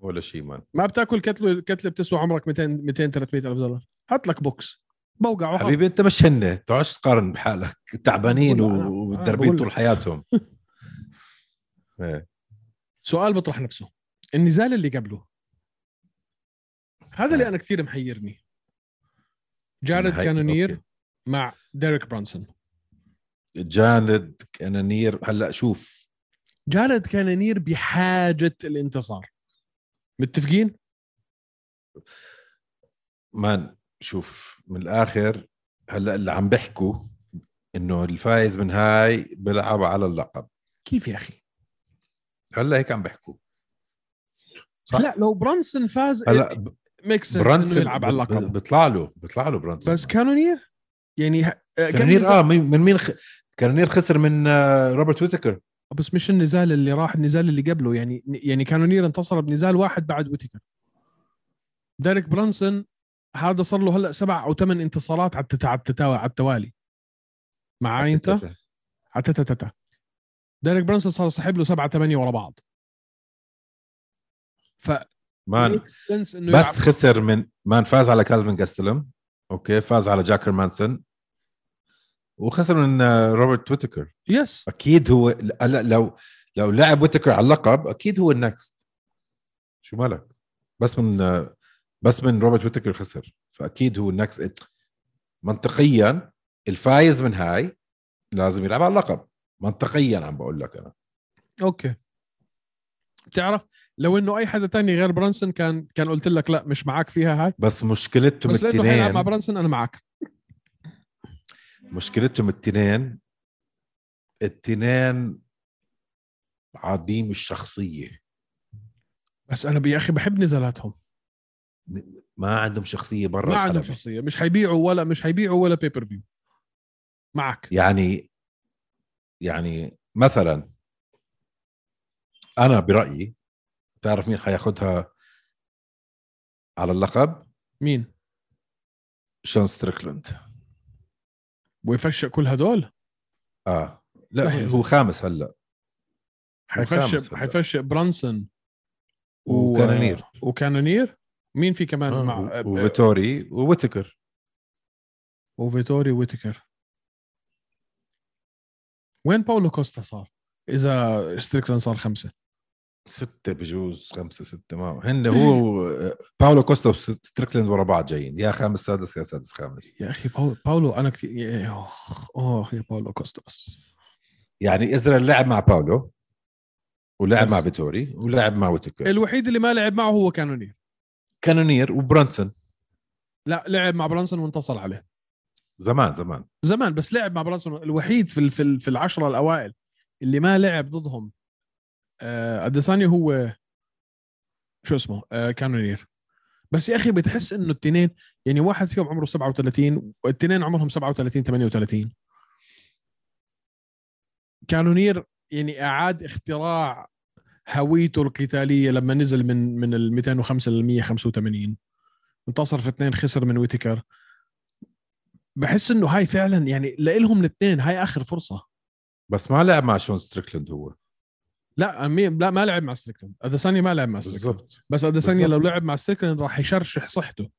Speaker 3: ولا شيء مان
Speaker 2: ما بتاكل كتله كتله بتسوى عمرك 200 200 300 الف دولار هات لك بوكس بوقع وخلاص.
Speaker 3: حبيبي انت مش هن تقعدش تقارن بحالك تعبانين
Speaker 2: بقول لك أنا- أنا
Speaker 3: ومتدربين
Speaker 2: بقول
Speaker 3: طول
Speaker 2: لك.
Speaker 3: حياتهم إيه.
Speaker 2: سؤال بيطرح نفسه النزال اللي قبله
Speaker 3: آه.
Speaker 2: هذا اللي انا كثير محيرني جارد
Speaker 3: هاي-
Speaker 2: كانونير
Speaker 3: أوكي.
Speaker 2: مع ديريك برانسون
Speaker 3: جاند كانانير هلا شوف
Speaker 2: جارد كانونير بحاجه الانتصار متفقين
Speaker 3: مان شوف من الاخر هلا اللي عم بيحكوا انه الفايز من هاي بيلعب على اللقب
Speaker 2: كيف يا اخي
Speaker 3: هلا هيك عم بيحكوا صح.
Speaker 2: لا لو برانسون فاز
Speaker 3: هلا ب-
Speaker 2: ميكس برانسون
Speaker 3: برانسون
Speaker 2: إيه، يلعب على اللقب
Speaker 3: بيطلع له بيطلع له برانسون
Speaker 2: بس كانونير يعني ه- آه،
Speaker 3: كانانير
Speaker 2: كان-
Speaker 3: اه من من مين خ... كانانير خسر من آه، روبرت ويتكر
Speaker 2: بس مش النزال اللي راح النزال اللي قبله يعني يعني كانونير انتصر بنزال واحد بعد ويتكر ديريك برانسون هذا صار له هلا سبع او ثمان انتصارات على التتا- على التتاوى على التوالي معاي انت على تتا ديريك برانسون صار سحب له سبعه ثمانيه ورا بعض ف
Speaker 3: مان
Speaker 2: makes sense انه
Speaker 3: بس
Speaker 2: يلعب.
Speaker 3: خسر من مان فاز على كالفن جاستلم اوكي فاز على جاكر مانسون وخسر من آه، روبرت ويتكر
Speaker 2: يس
Speaker 3: اكيد هو هلا لو لو لعب ويتكر على اللقب اكيد هو النكست شو مالك بس من آه، بس من روبرت ويتكر خسر فاكيد هو النكست منطقيا الفايز من هاي لازم يلعب على اللقب منطقيا عم بقول لك انا
Speaker 2: اوكي بتعرف لو انه اي حدا تاني غير برانسون كان كان قلت لك لا مش معك فيها هاي
Speaker 3: بس مشكلتهم
Speaker 2: بس لانه حيلعب مع
Speaker 3: التنين
Speaker 2: برانسون انا معك
Speaker 3: مشكلتهم التنين التنين عديم الشخصية
Speaker 2: بس انا يا اخي بحب نزالاتهم
Speaker 3: ما عندهم شخصية برا
Speaker 2: ما عندهم
Speaker 3: الحلبة.
Speaker 2: شخصيه مش حيبيعوا ولا مش حيبيعوا ولا بيبر فيو معك
Speaker 3: يعني يعني مثلا أنا برأيي تعرف مين حياخدها على اللقب
Speaker 2: مين
Speaker 3: شون ستريكلند
Speaker 2: ويفشق كل هدول
Speaker 3: اه
Speaker 2: صح
Speaker 3: لا
Speaker 2: يا
Speaker 3: هو
Speaker 2: زلمة.
Speaker 3: خامس هلا خامس
Speaker 2: حيفشق
Speaker 3: هلا.
Speaker 2: حيفشق برانسون و-
Speaker 3: وكانونير
Speaker 2: وكانونير مين في كمان
Speaker 3: آه،
Speaker 2: مع
Speaker 3: و- وفيتوري وويتكر
Speaker 2: وفيتوري ويتكر وين باولو كوستا صار اذا ستريكلاند صار خمسه
Speaker 3: ستة بجوز خمسة ستة ما هن هو باولو كوستا وستريكلند ورا بعض جايين يا خامس سادس يا سادس خامس
Speaker 2: يا اخي باولو, باولو انا كثير يا- اخ اخ يا باولو كوستا بس
Speaker 3: يعني إزرائيل لعب مع باولو ولعب
Speaker 2: بس.
Speaker 3: مع فيتوري ولعب مع ويتكر
Speaker 2: الوحيد اللي ما لعب معه هو كانونير
Speaker 3: كانونير وبرانسون
Speaker 2: لا لعب مع برانسون وانتصر عليه
Speaker 3: زمان زمان
Speaker 2: زمان بس لعب مع برانسون الوحيد في ال- في ال- في العشره الاوائل اللي ما لعب ضدهم آه، اديسانيا هو شو اسمه آه، كانونير بس يا اخي بتحس انه التنين يعني واحد فيهم عمره 37 والتنين عمرهم 37 38 كانونير يعني اعاد اختراع هويته القتاليه لما نزل من من ال 205 لل 185 انتصر في اثنين خسر من ويتكر بحس انه هاي فعلا يعني لإلهم الاثنين هاي اخر فرصه
Speaker 3: بس ما لعب مع شون ستريكلند هو
Speaker 2: لا مي- لا ما لعب مع ستريكلاند اديسانيا ما لعب مع ستريكلاند
Speaker 3: بالضبط
Speaker 2: بس اديسانيا لو
Speaker 3: بالضبط.
Speaker 2: لعب مع ستريكلاند راح يشرشح صحته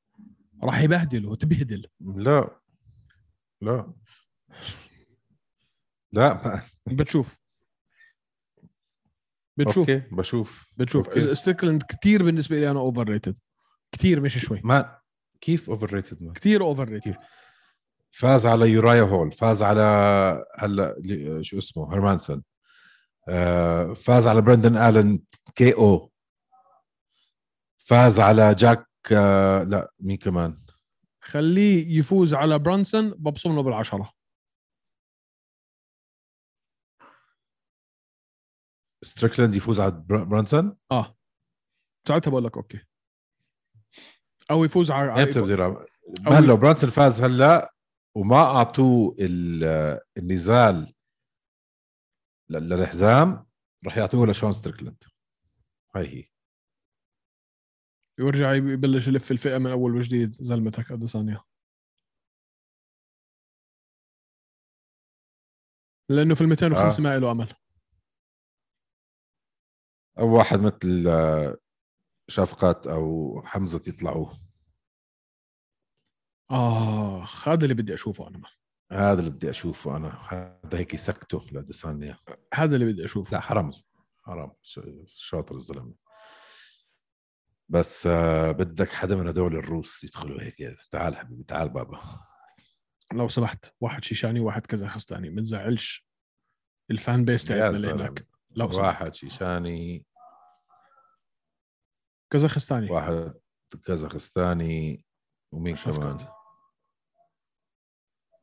Speaker 2: راح يبهدله تبهدل
Speaker 3: لا لا لا ما.
Speaker 2: بتشوف بتشوف
Speaker 3: اوكي بشوف
Speaker 2: بتشوف
Speaker 3: أوكي.
Speaker 2: ستريكلاند كثير بالنسبه لي انا اوفر ريتد كثير مش شوي
Speaker 3: ما كيف اوفر ريتد ما
Speaker 2: كثير اوفر ريتد
Speaker 3: فاز على يورايا هول فاز على هلا لي- شو اسمه هيرمانسون آه، فاز على برندن الن كي او فاز على جاك آه، لا مين كمان
Speaker 2: خليه يفوز على برانسون ببصم له بالعشره
Speaker 3: ستريكلاند يفوز على برا- برانسون
Speaker 2: اه ساعتها بقول لك اوكي او يفوز على
Speaker 3: امتى بده إيه يلعب
Speaker 2: يعني أو
Speaker 3: ما
Speaker 2: يف-
Speaker 3: لو برانسون فاز هلا وما اعطوه ال- آه، النزال لل- للحزام رح يعطوه لشون ستريكلاند هاي هي
Speaker 2: ويرجع يبلش يلف الفئه من اول وجديد زلمتك اديسانيا لانه في ال 205
Speaker 3: آه.
Speaker 2: ما له امل
Speaker 3: او واحد مثل آه، شفقات او حمزه يطلعوا
Speaker 2: اخ آه، هذا اللي بدي اشوفه انا
Speaker 3: هذا اللي بدي اشوفه انا هذا هيك يسكته لاديسانيا
Speaker 2: هذا اللي بدي اشوفه
Speaker 3: لا حرام حرام ش- شاطر الزلمه بس آه، بدك حدا من هدول الروس يدخلوا هيك تعال حبيبي تعال بابا
Speaker 2: لو سمحت واحد شيشاني واحد كازاخستاني ما تزعلش الفان بيس
Speaker 3: يا
Speaker 2: تاعتنا اللي
Speaker 3: زلمة.
Speaker 2: هناك لو سمحت
Speaker 3: واحد شيشاني
Speaker 2: كازاخستاني
Speaker 3: واحد كازاخستاني ومين
Speaker 2: شفقات.
Speaker 3: كمان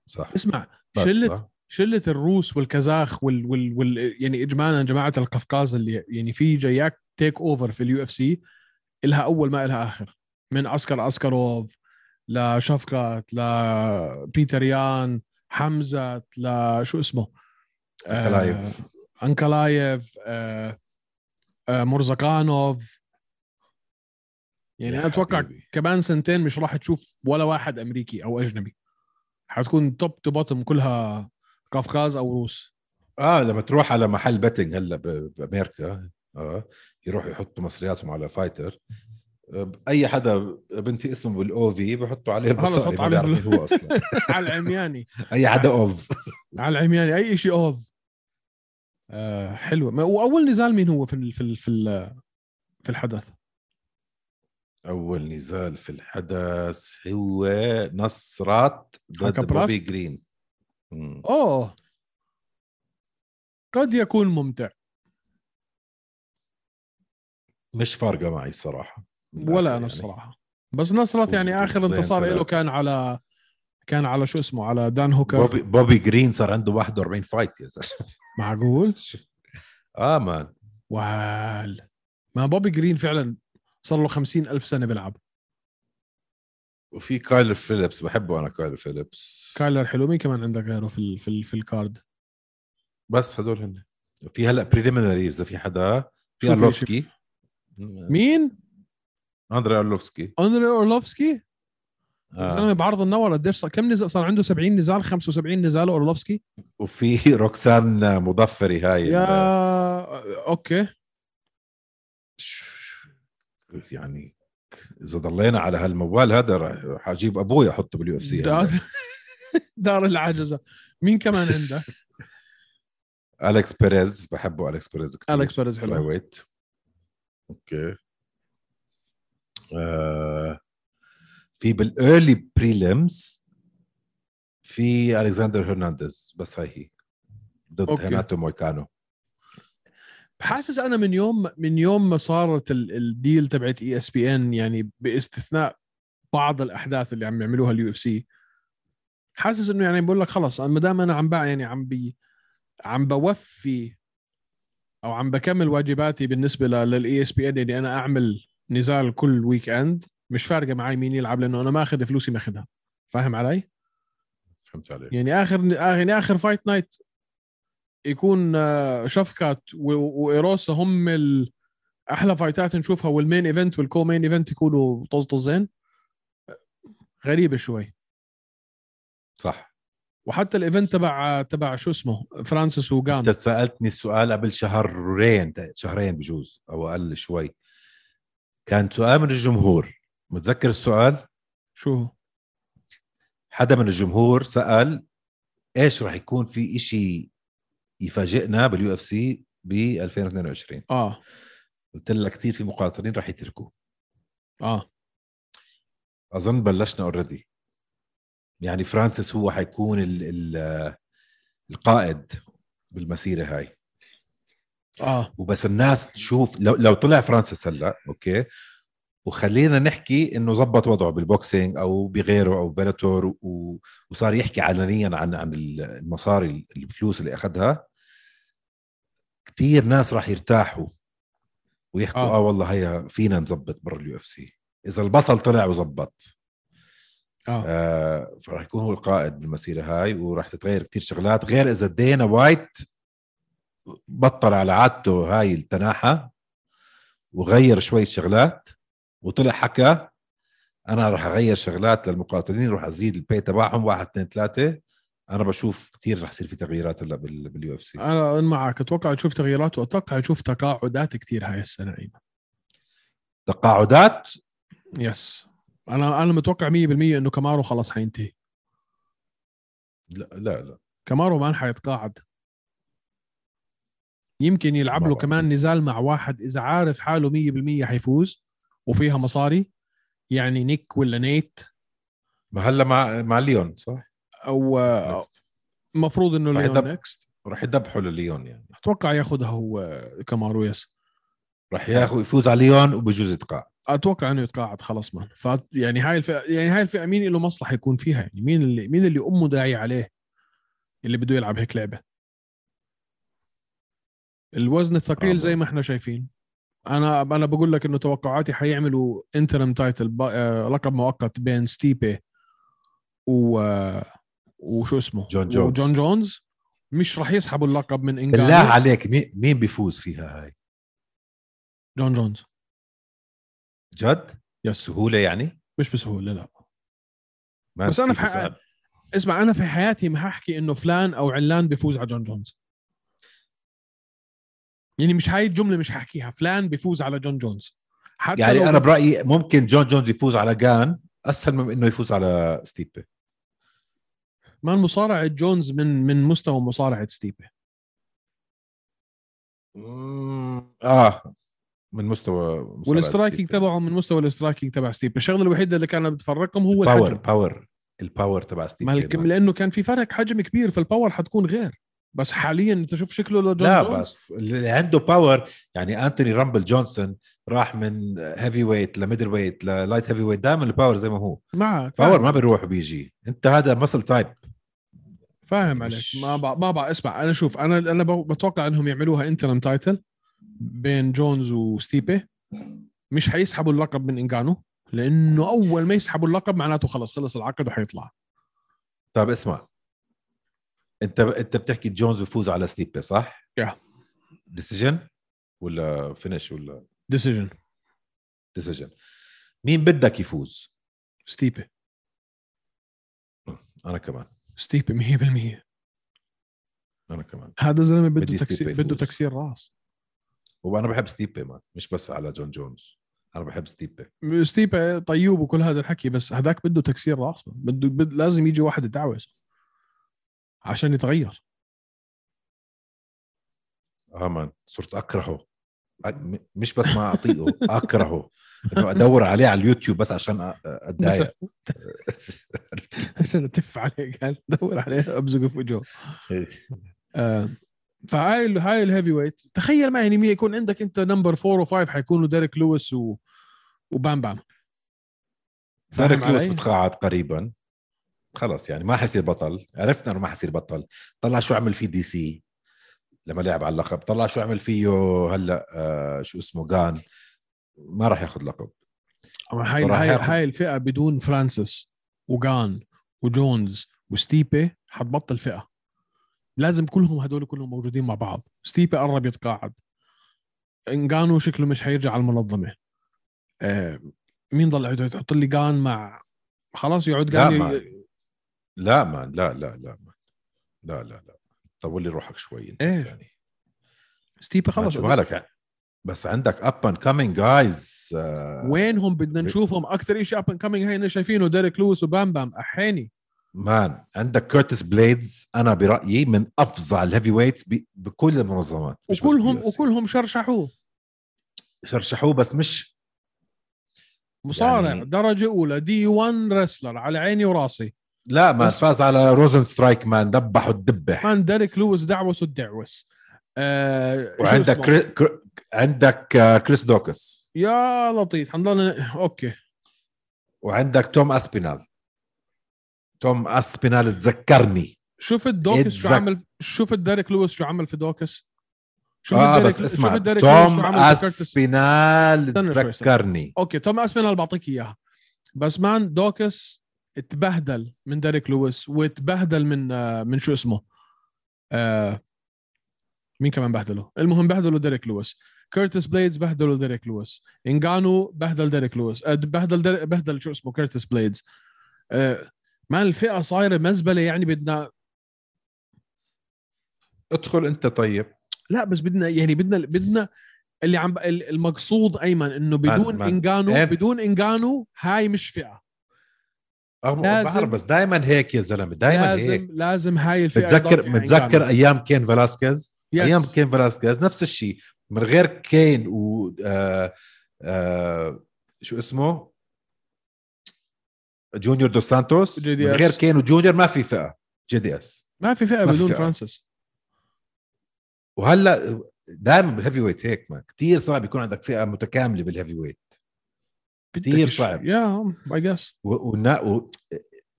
Speaker 3: صح
Speaker 2: اسمع
Speaker 3: بس،
Speaker 2: شله
Speaker 3: آه.
Speaker 2: شله الروس والكازاخ وال, وال, وال يعني اجمالا جماعه القفقاز اللي يعني في جاياك تيك اوفر في اليو اف سي الها اول ما الها اخر من عسكر عسكروف لشفقت لبيتر يان حمزه لشو اسمه آه،
Speaker 3: أكلايف.
Speaker 2: انكلايف آه، آه، مرزقانوف يعني
Speaker 3: يا
Speaker 2: انا اتوقع
Speaker 3: حبيبي.
Speaker 2: كمان سنتين مش راح تشوف ولا واحد امريكي او اجنبي حتكون توب تو بوتم كلها قفقاز او روس
Speaker 3: اه لما تروح على محل بتنج هلا ب- بامريكا اه يروحوا يحطوا مصرياتهم على فايتر آه، اي حدا بنتي اسمه بالاو في بحطوا عليه
Speaker 2: خلص، حط
Speaker 3: البصاري ما
Speaker 2: عليه
Speaker 3: بيعرف مين
Speaker 2: بال-
Speaker 3: هو اصلا
Speaker 2: على العمياني
Speaker 3: اي حدا اوف
Speaker 2: على العمياني اي شيء اوف آه حلوه ما- واول نزال مين هو في ال في ال في, ال- في الحدث
Speaker 3: اول نزال في الحدث هو نصرات ضد
Speaker 2: هاكا
Speaker 3: بوبي
Speaker 2: براست.
Speaker 3: جرين مم.
Speaker 2: اوه قد يكون ممتع
Speaker 3: مش فارقه معي يعني الصراحه
Speaker 2: ولا انا بصراحه بس نصرت يعني
Speaker 3: وز-
Speaker 2: اخر
Speaker 3: وزين
Speaker 2: انتصار له
Speaker 3: ثلاثة.
Speaker 2: كان على كان على شو اسمه على دان هوكر
Speaker 3: بوبي, بوبي جرين صار عنده 41 فايت يا زلمه
Speaker 2: معقول
Speaker 3: اه مان
Speaker 2: وال ما بوبي جرين فعلا صار له خمسين ألف سنه بيلعب
Speaker 3: وفي كايلر فيليبس بحبه انا كايلر فيليبس
Speaker 2: كايلر حلو مين كمان عندك غيره في ال في, ال في الكارد
Speaker 3: بس هدول هن في هلا بريليمينري اذا في حدا في
Speaker 2: شو في
Speaker 3: ارلوفسكي
Speaker 2: مين
Speaker 3: اندري ارلوفسكي
Speaker 2: اندري اورلوفسكي زلمه
Speaker 3: آه.
Speaker 2: بعرض النور قديش صار كم نزال صار عنده 70 نزال 75 نزال اورلوفسكي
Speaker 3: وفي روكسان مضفري هاي
Speaker 2: يا
Speaker 3: ال- آه.
Speaker 2: اوكي
Speaker 3: يعني اذا ضلينا على هالموال هذا رح اجيب ابوي احطه باليو اف سي
Speaker 2: دار, دار العجزه مين كمان عندك
Speaker 3: اليكس بيريز بحبه اليكس بيريز كثير
Speaker 2: اليكس بيريز
Speaker 3: فلاي
Speaker 2: حلو
Speaker 3: ويت اوكي آه في بالايرلي بريليمز في الكسندر هرنانديز بس هاي هي ضد
Speaker 2: أوكي.
Speaker 3: هيناتو مويكانو
Speaker 2: حاسس انا من يوم من يوم ما صارت ال- الديل تبعت اي اس بي ان يعني باستثناء بعض الاحداث اللي عم يعملوها اليو اف سي حاسس انه يعني بقول لك خلص أنا ما دام انا عم بقى يعني عم بي عم بوفي او عم بكمل واجباتي بالنسبه للاي اس بي ان اني انا اعمل نزال كل ويك اند مش فارقه معي مين يلعب لانه انا ما اخذ فلوسي ماخذها فاهم علي؟
Speaker 3: فهمت عليك
Speaker 2: يعني اخر يعني اخر فايت نايت يكون آه، شفكات و- وايروسا هم ال- احلى فايتات نشوفها والمين ايفنت والكو مين ايفنت يكونوا طزطزين غريبه شوي
Speaker 3: صح
Speaker 2: وحتى الايفنت تبع تبع شو اسمه فرانسيس وجان
Speaker 3: انت سالتني السؤال قبل شهرين شهرين بجوز او اقل شوي كان سؤال من الجمهور متذكر السؤال
Speaker 2: شو هو؟
Speaker 3: حدا من الجمهور سأل ايش راح يكون في اشي يفاجئنا باليو اف سي ب 2022
Speaker 2: اه
Speaker 3: قلت لك كثير في مقاتلين راح يتركوا
Speaker 2: اه
Speaker 3: اظن بلشنا اوريدي يعني فرانسيس هو حيكون ال ال القائد بالمسيره هاي
Speaker 2: اه
Speaker 3: وبس الناس تشوف لو, لو طلع فرانسيس هلا اوكي وخلينا نحكي انه زبط وضعه بالبوكسينج او بغيره او بلاتور و- و... وصار يحكي علنيا عن عن المصاري الفلوس اللي اخذها كثير ناس راح يرتاحوا ويحكوا
Speaker 2: آه.
Speaker 3: اه, آه والله هيا فينا نظبط برا اليو اف سي اذا البطل طلع وظبط
Speaker 2: اه
Speaker 3: آه فراح يكون هو القائد بالمسيره هاي وراح تتغير كثير شغلات غير اذا دينا وايت بطل على عادته هاي التناحه وغير شوي شغلات وطلع حكى انا راح اغير شغلات للمقاتلين راح ازيد البي تبعهم واحد اثنين ثلاثه انا بشوف كثير راح يصير في تغييرات هلا باليو اف سي
Speaker 2: انا معك اتوقع تشوف تغييرات واتوقع تشوف تقاعدات كثير هاي السنه ايمن
Speaker 3: تقاعدات
Speaker 2: يس انا انا متوقع 100% انه كمارو خلاص حينتهي
Speaker 3: لا لا لا
Speaker 2: كمارو ما حيتقاعد يمكن يلعب
Speaker 3: ما
Speaker 2: له
Speaker 3: بعرف.
Speaker 2: كمان نزال مع واحد اذا عارف حاله 100% حيفوز وفيها مصاري يعني نيك ولا نيت
Speaker 3: ما هلا مع مع ليون صح؟
Speaker 2: او المفروض انه
Speaker 3: راح
Speaker 2: آه، ليون
Speaker 3: يدب-
Speaker 2: نكست
Speaker 3: راح يذبحوا لليون يعني
Speaker 2: اتوقع ياخذها هو آه، كمارو يس
Speaker 3: راح ياخذ يفوز على ليون وبجوز يتقاعد
Speaker 2: اتوقع انه يتقاعد خلاص مان ف يعني هاي الفئه يعني هاي الفئه مين له مصلحه يكون فيها يعني مين اللي مين اللي امه داعي عليه اللي بده يلعب هيك لعبه الوزن الثقيل
Speaker 3: آه.
Speaker 2: زي ما احنا شايفين انا انا بقول لك انه توقعاتي حيعملوا انترم تايتل آه، لقب مؤقت بين ستيبي و آه، وشو اسمه
Speaker 3: جون جونز.
Speaker 2: جون جونز مش راح يسحبوا اللقب من
Speaker 3: بالله
Speaker 2: انجلترا
Speaker 3: عليك مين مين بيفوز فيها هاي؟
Speaker 2: جون جونز
Speaker 3: جد؟
Speaker 2: يس
Speaker 3: سهوله يعني؟
Speaker 2: مش بسهوله لا
Speaker 3: ما
Speaker 2: بس أنا في
Speaker 3: نستيقظ
Speaker 2: حق-
Speaker 3: صعب.
Speaker 2: اسمع انا في حياتي ما هحكي انه فلان او علان بيفوز على جون جونز يعني مش هاي الجمله مش هحكيها فلان بيفوز على جون جونز حتى
Speaker 3: يعني
Speaker 2: لو
Speaker 3: انا برايي ممكن جون جونز يفوز على جان اسهل من انه يفوز على ستيبي
Speaker 2: ما مصارعه جونز من من مستوى مصارعه ستيبي
Speaker 3: اه من مستوى مصارعة
Speaker 2: والاسترايكنج
Speaker 3: ستيبي.
Speaker 2: تبعه من مستوى الاسترايكنج تبع ستيبي الشغله الوحيده اللي كانت بتفرقهم هو
Speaker 3: باور
Speaker 2: الحجم
Speaker 3: باور الباور تبع ستيبي
Speaker 2: ما الك-
Speaker 3: ما-
Speaker 2: لانه كان في فرق حجم كبير فالباور حتكون غير بس حاليا انت شوف شكله لجون
Speaker 3: لا
Speaker 2: جونز
Speaker 3: بس اللي عنده باور يعني انتوني رامبل جونسون راح من هيفي ويت لميدل ويت للايت هيفي ويت دائما الباور زي ما هو
Speaker 2: معك
Speaker 3: باور ما بيروح وبيجي انت هذا مسل تايب
Speaker 2: فاهم عليك
Speaker 3: مش-
Speaker 2: ما بع... ما بع... اسمع انا شوف انا انا ب- بتوقع انهم يعملوها انترم تايتل بين جونز وستيبي مش حيسحبوا اللقب من انجانو لانه اول ما يسحبوا اللقب معناته خلص خلص العقد وحيطلع
Speaker 3: طب طيب اسمع انت انت بتحكي جونز بفوز على ستيبي صح؟
Speaker 2: Yeah.
Speaker 3: ديسيجن ولا فينش ولا
Speaker 2: ديسيجن
Speaker 3: ديسيجن مين بدك يفوز؟
Speaker 2: ستيبي
Speaker 3: انا كمان
Speaker 2: ستيبي 100%
Speaker 3: انا كمان
Speaker 2: هذا الزلمه بده
Speaker 3: بدي
Speaker 2: تكسير
Speaker 3: ستيبي يفوز.
Speaker 2: بده تكسير راس
Speaker 3: وانا بحب ستيبي ما مش بس على جون جونز انا بحب ستيبي
Speaker 2: ستيبي طيوب وكل هذا الحكي بس هذاك بده تكسير راس بده بد... لازم يجي واحد يدعوس عشان يتغير
Speaker 3: اه مان صرت اكرهه أ- م- مش بس ما اطيقه اكرهه انه ادور عليه على اليوتيوب بس عشان أ- اتضايق
Speaker 2: عشان اتف عليه قال دور عليه ابزقه في وجهه آه، فهاي ال- هاي الهيفي ويت تخيل معي يعني مين يكون عندك انت نمبر 4 و5 حيكونوا ديريك لويس و... وبام بام فاهم
Speaker 3: ديريك لويس
Speaker 2: علي؟
Speaker 3: متقاعد قريبا خلص يعني ما حيصير بطل عرفنا انه ما حيصير بطل طلع شو عمل فيه دي سي لما لعب على اللقب طلع شو عمل فيه هلا آه شو اسمه جان ما راح ياخذ لقب
Speaker 2: أما هاي
Speaker 3: راح
Speaker 2: هاي
Speaker 3: ياخد.
Speaker 2: هاي الفئه بدون فرانسيس وجان وجونز وستيبي حتبطل فئه لازم كلهم هدول كلهم موجودين مع بعض ستيبي قرب يتقاعد انغانو شكله مش حيرجع على المنظمه آه مين ضل تحط لي جان مع خلاص يقعد
Speaker 3: لا
Speaker 2: جان
Speaker 3: ما لا ما لا لا لا ما لا لا لا طول لي روحك شوي انت
Speaker 2: إيه.
Speaker 3: يعني
Speaker 2: ستيبي
Speaker 3: خلص
Speaker 2: خلص
Speaker 3: شو بالك بس عندك اب اند كامينج جايز
Speaker 2: وينهم بدنا نشوفهم اكثر شيء اب اند كامينج هينا شايفينه ديريك لويس وبام بام احيني
Speaker 3: مان عندك كورتس بليدز انا برايي من افظع الهيفي ويتس ب- بكل المنظمات مش بس
Speaker 2: وكلهم
Speaker 3: بال UFC.
Speaker 2: وكلهم شرشحوه
Speaker 3: شرشحوه بس مش
Speaker 2: مصارع
Speaker 3: يعني-
Speaker 2: درجه اولى دي 1 رسلر على عيني وراسي
Speaker 3: لا ما
Speaker 2: بس-
Speaker 3: فاز على روزن سترايك مان دبحه الدبح
Speaker 2: كان ديريك لويس دعوس الدعوس آه شو
Speaker 3: وعندك
Speaker 2: اسمه؟
Speaker 3: كري... كر... عندك آه، كريس دوكس
Speaker 2: يا لطيف حنضلنا اوكي
Speaker 3: وعندك توم اسبينال توم اسبينال تذكرني
Speaker 2: شفت دوكس شو
Speaker 3: اتذكر.
Speaker 2: عمل شفت ديريك لويس شو عمل في دوكس شفت
Speaker 3: اه
Speaker 2: ديريك-
Speaker 3: بس اسمع
Speaker 2: شفت ديريك لويس شو
Speaker 3: توم
Speaker 2: عمل في كيرتس؟
Speaker 3: اسبينال
Speaker 2: استنى شوي، استنى.
Speaker 3: تذكرني
Speaker 2: اوكي توم اسبينال اللي بعطيك اياها بس مان دوكس اتبهدل من ديريك لويس واتبهدل من آه، من شو اسمه آه مين كمان بهدله المهم بهدلوا ديريك لويس كيرتس بليدز بهدلوا ديريك لويس انجانو بهدل ديريك لويس آه، بهدل ديريك بهدل شو اسمه كيرتس بليدز آه مان الفئه صايره مزبله يعني بدنا
Speaker 3: ادخل انت طيب
Speaker 2: لا بس بدنا يعني بدنا بدنا اللي عم ال- المقصود ايمن انه
Speaker 3: مان-
Speaker 2: بدون
Speaker 3: مان.
Speaker 2: انجانو
Speaker 3: إيه.
Speaker 2: بدون انجانو هاي مش فئه
Speaker 3: رغم
Speaker 2: لازم-
Speaker 3: بعرف بس دائما هيك يا زلمه دائما
Speaker 2: لازم
Speaker 3: هيك
Speaker 2: لازم هاي يعني الفئه
Speaker 3: متذكر
Speaker 2: يضل فيها
Speaker 3: متذكر
Speaker 2: إنجانو.
Speaker 3: ايام كين فلاسكيز
Speaker 2: نعم. Yes.
Speaker 3: ايام كين فلاسكيز نفس الشيء من غير كين و آه آه شو اسمه جونيور دو سانتوس
Speaker 2: جي
Speaker 3: من
Speaker 2: دي
Speaker 3: غير
Speaker 2: إس.
Speaker 3: كين وجونيور ما في فئه جي دي اس
Speaker 2: ما في فئه
Speaker 3: ما في
Speaker 2: بدون
Speaker 3: فئة.
Speaker 2: فرانسيس
Speaker 3: وهلا دائما بالهيفي ويت هيك ما كثير صعب يكون عندك فئه متكامله بالهيفي ويت كتير
Speaker 2: بدك-
Speaker 3: صعب.
Speaker 2: يا اي جس
Speaker 3: و- ونا و...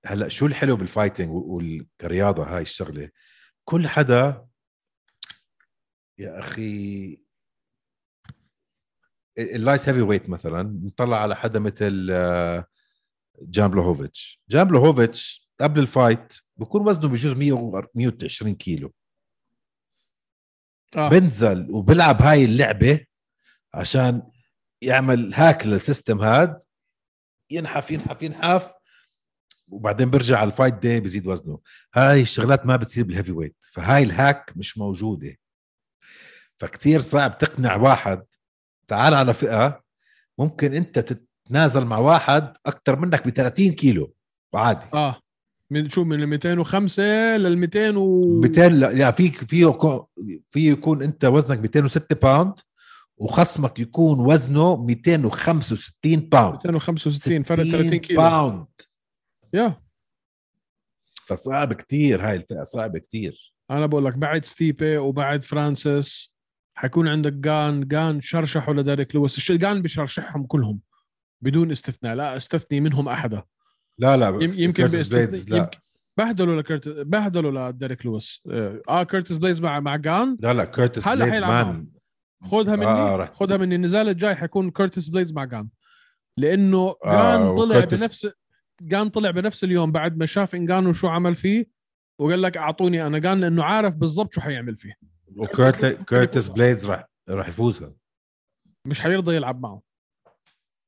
Speaker 3: هلا شو الحلو بالفايتنج و- والرياضه هاي الشغله كل حدا يا اخي اللايت هيفي ويت مثلا نطلع على حدا مثل آه، جان بلوهوفيتش جان بلوهوفيتش قبل الفايت بكون وزنه بجوز 100 و 120 كيلو
Speaker 2: آه.
Speaker 3: بنزل وبلعب هاي اللعبه عشان يعمل هاك للسيستم هاد ينحف ينحف ينحف وبعدين برجع على الفايت دي بزيد وزنه هاي الشغلات ما بتصير بالهيفي ويت فهاي الهاك مش موجوده فكتير صعب تقنع واحد تعال على فئه ممكن انت تتنازل مع واحد اكثر منك ب 30 كيلو وعادي
Speaker 2: اه من شو من ال 205 لل 200 و
Speaker 3: 200 لا لا، يعني في في يكون- في يكون انت وزنك 206 باوند وخصمك يكون وزنه 265 باوند
Speaker 2: 265 فرق 30 كيلو
Speaker 3: باوند
Speaker 2: يا
Speaker 3: فصعب كتير هاي الفئه صعبه كتير
Speaker 2: انا بقول لك بعد ستيبي وبعد فرانسيس حيكون عندك جان جان شرشحوا لديريك لويس الش- جان بشرشحهم كلهم بدون استثناء لا استثني منهم احدا
Speaker 3: لا لا
Speaker 2: يم- يمكن
Speaker 3: كيرتس بليدز
Speaker 2: باستثناء
Speaker 3: لا
Speaker 2: يمكن بهدلوا لكرت بهدلوا لديريك لويس اه آه، كيرتس بليز مع مع جان
Speaker 3: لا لا كيرتس
Speaker 2: هلا
Speaker 3: بليدز
Speaker 2: حيلعب
Speaker 3: مان
Speaker 2: خذها مني
Speaker 3: آه،
Speaker 2: آه
Speaker 3: رح-
Speaker 2: خذها مني النزال الجاي حيكون كيرتس بليدز مع جان لانه جان
Speaker 3: آه،
Speaker 2: طلع
Speaker 3: وكيرتس-
Speaker 2: بنفس جان طلع بنفس اليوم بعد ما شاف انجانو شو عمل فيه وقال لك اعطوني انا جان لانه عارف بالضبط شو حيعمل فيه
Speaker 3: وكيرتس كيرتس
Speaker 2: يفوزها.
Speaker 3: بليدز راح راح يفوزها
Speaker 2: مش حيرضى يلعب معه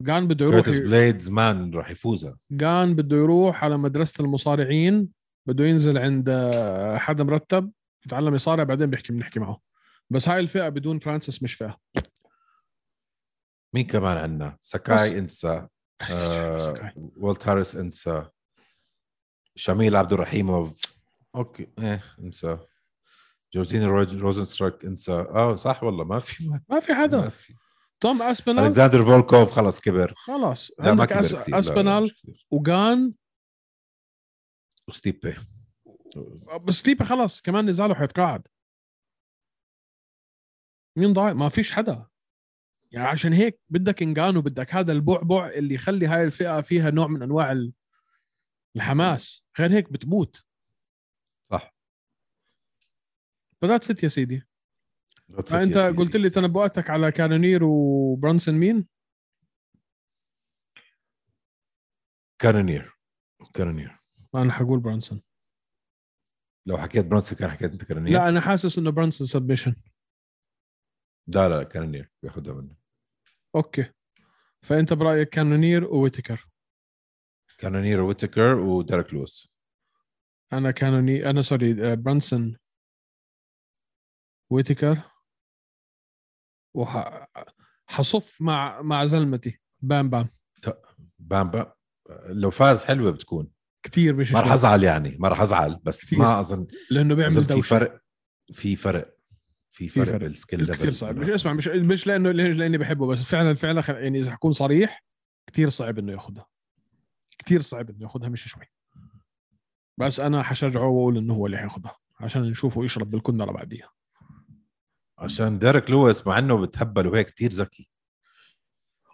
Speaker 2: جان بده يروح
Speaker 3: كيرتس بليدز مان راح يفوزها
Speaker 2: جان بده يروح على مدرسه المصارعين بده ينزل عند آه، حدا مرتب يتعلم يصارع بعدين بيحكي بنحكي معه بس هاي الفئه بدون فرانسيس مش فئه
Speaker 3: مين كمان عندنا
Speaker 2: بس.
Speaker 3: سكاي انسى
Speaker 2: سكاي.
Speaker 3: آه والت هاريس انسى شميل عبد الرحيموف اوكي ايه انسى جوزين روز- روزنستراك انسى اه صح والله ما في
Speaker 2: ما في
Speaker 3: ما
Speaker 2: حدا
Speaker 3: في
Speaker 2: توم اسبينال
Speaker 3: الكساندر فولكوف خلص كبر
Speaker 2: خلاص
Speaker 3: لا ما
Speaker 2: عندك
Speaker 3: كبر
Speaker 2: أس...
Speaker 3: كثير لا، لا،
Speaker 2: اسبينال
Speaker 3: مش كثير.
Speaker 2: وجان
Speaker 3: وستيبي
Speaker 2: بس ليبي خلاص كمان نزاله حيتقاعد مين ضايع ما فيش حدا يعني عشان هيك بدك انجان وبدك هذا البعبع اللي يخلي هاي الفئه فيها نوع من انواع ال- الحماس غير هيك بتموت
Speaker 3: صح
Speaker 2: فذاتس ات يا سيدي فانت قلت لي تنبؤاتك على كانونير وبرانسون مين
Speaker 3: كانونير كانونير
Speaker 2: انا حقول برانسون
Speaker 3: لو حكيت برونسون كان حكيت انت كرنير
Speaker 2: لا انا حاسس انه برانسون سبمشن
Speaker 3: لا لا كرنير بياخذها منه
Speaker 2: اوكي فانت برايك كانونير وويتكر
Speaker 3: كانونير ويتكر وديريك لويس
Speaker 2: انا كانوني انا سوري آه، برانسون ويتكر وح حصف مع مع زلمتي بام بام
Speaker 3: بام بام لو فاز حلوه بتكون
Speaker 2: كثير مش
Speaker 3: ما راح
Speaker 2: شوي.
Speaker 3: ازعل يعني ما راح ازعل بس
Speaker 2: كتير.
Speaker 3: ما اظن
Speaker 2: لانه بيعمل
Speaker 3: اظن في
Speaker 2: دوشه
Speaker 3: فرق في فرق في فرق,
Speaker 2: فرق.
Speaker 3: بالسكيل ليفل
Speaker 2: كثير صعب مش اسمع مش مش لانه لاني بحبه بس فعلا فعلا خل- يعني اذا حكون صريح كثير صعب انه ياخذها كثير صعب انه ياخذها مش شوي بس انا حشجعه واقول انه هو اللي حياخذها عشان نشوفه يشرب بالكندره بعديها
Speaker 3: عشان ديريك لويس مع انه بتهبل وهيك كتير ذكي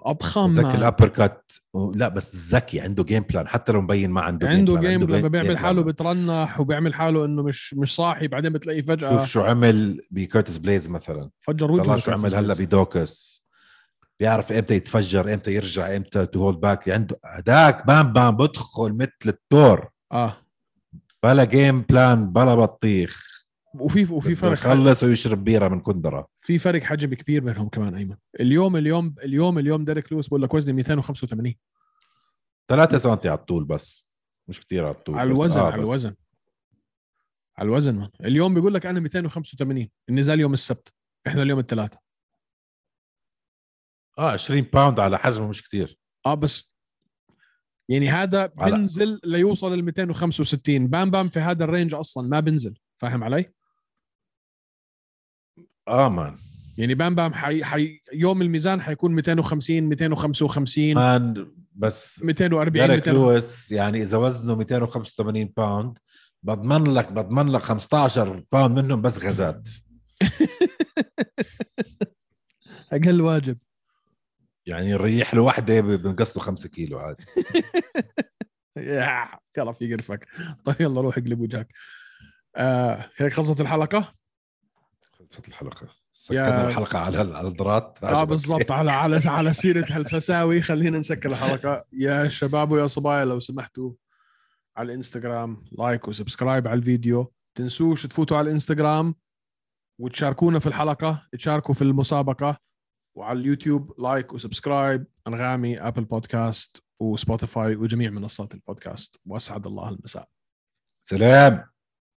Speaker 2: اضخم
Speaker 3: ذكي
Speaker 2: آه، ما-
Speaker 3: الابر كات لا بس ذكي عنده جيم بلان حتى لو مبين ما يعني عنده
Speaker 2: عنده
Speaker 3: بلان،
Speaker 2: جيم لما
Speaker 3: بي-
Speaker 2: بيعمل
Speaker 3: game
Speaker 2: حاله
Speaker 3: plan.
Speaker 2: بترنح وبيعمل حاله انه مش مش صاحي بعدين بتلاقيه فجاه
Speaker 3: شوف شو عمل بكيرتس بليدز مثلا
Speaker 2: فجر وجهه
Speaker 3: طلع شو عمل هلا بدوكس بيعرف امتى يتفجر امتى يرجع امتى تو هولد باك يعني عنده هداك بام بام بدخل مثل التور
Speaker 2: اه
Speaker 3: بلا جيم بلان بلا بطيخ
Speaker 2: وفي وفي فرق
Speaker 3: خلص ويشرب بيره من كندره
Speaker 2: في فرق حجم كبير بينهم كمان ايمن اليوم اليوم اليوم اليوم ديريك لويس بقول لك وزني 285
Speaker 3: 3 سم على الطول بس مش كتير على الطول
Speaker 2: على
Speaker 3: بس
Speaker 2: الوزن
Speaker 3: آه
Speaker 2: على
Speaker 3: بس.
Speaker 2: الوزن على الوزن من. اليوم بيقول لك انا 285 النزال يوم السبت احنا اليوم الثلاثاء
Speaker 3: اه 20 باوند على حجمه مش كتير
Speaker 2: اه بس يعني هذا
Speaker 3: على-
Speaker 2: بنزل ليوصل ال 265 بام بام في هذا الرينج اصلا ما بنزل فاهم علي؟
Speaker 3: اه مان
Speaker 2: يعني بام بام حي... حي... يوم الميزان حيكون 250
Speaker 3: آه.
Speaker 2: 255
Speaker 3: مان بس
Speaker 2: 240
Speaker 3: ديريك
Speaker 2: 200
Speaker 3: لويس يعني اذا وزنه 285 باوند بضمن لك بضمن لك 15 باوند منهم بس غازات
Speaker 2: اقل واجب
Speaker 3: يعني الريح لوحده ب- بنقص له 5 كيلو عادي
Speaker 2: يا كلا في قرفك طيب يلا روح اقلب وجهك آه هيك خلصت الحلقه
Speaker 3: خلصت الحلقه سكرنا الحلقه على هال- على الضرات
Speaker 2: اه بالضبط على على على سيره هالفساوي خلينا نسكر الحلقه يا شباب ويا صبايا لو سمحتوا على الانستغرام لايك وسبسكرايب على الفيديو تنسوش تفوتوا على الانستغرام وتشاركونا في الحلقه تشاركوا في المسابقه وعلى اليوتيوب لايك وسبسكرايب انغامي ابل بودكاست وسبوتيفاي وجميع منصات البودكاست واسعد الله المساء
Speaker 3: سلام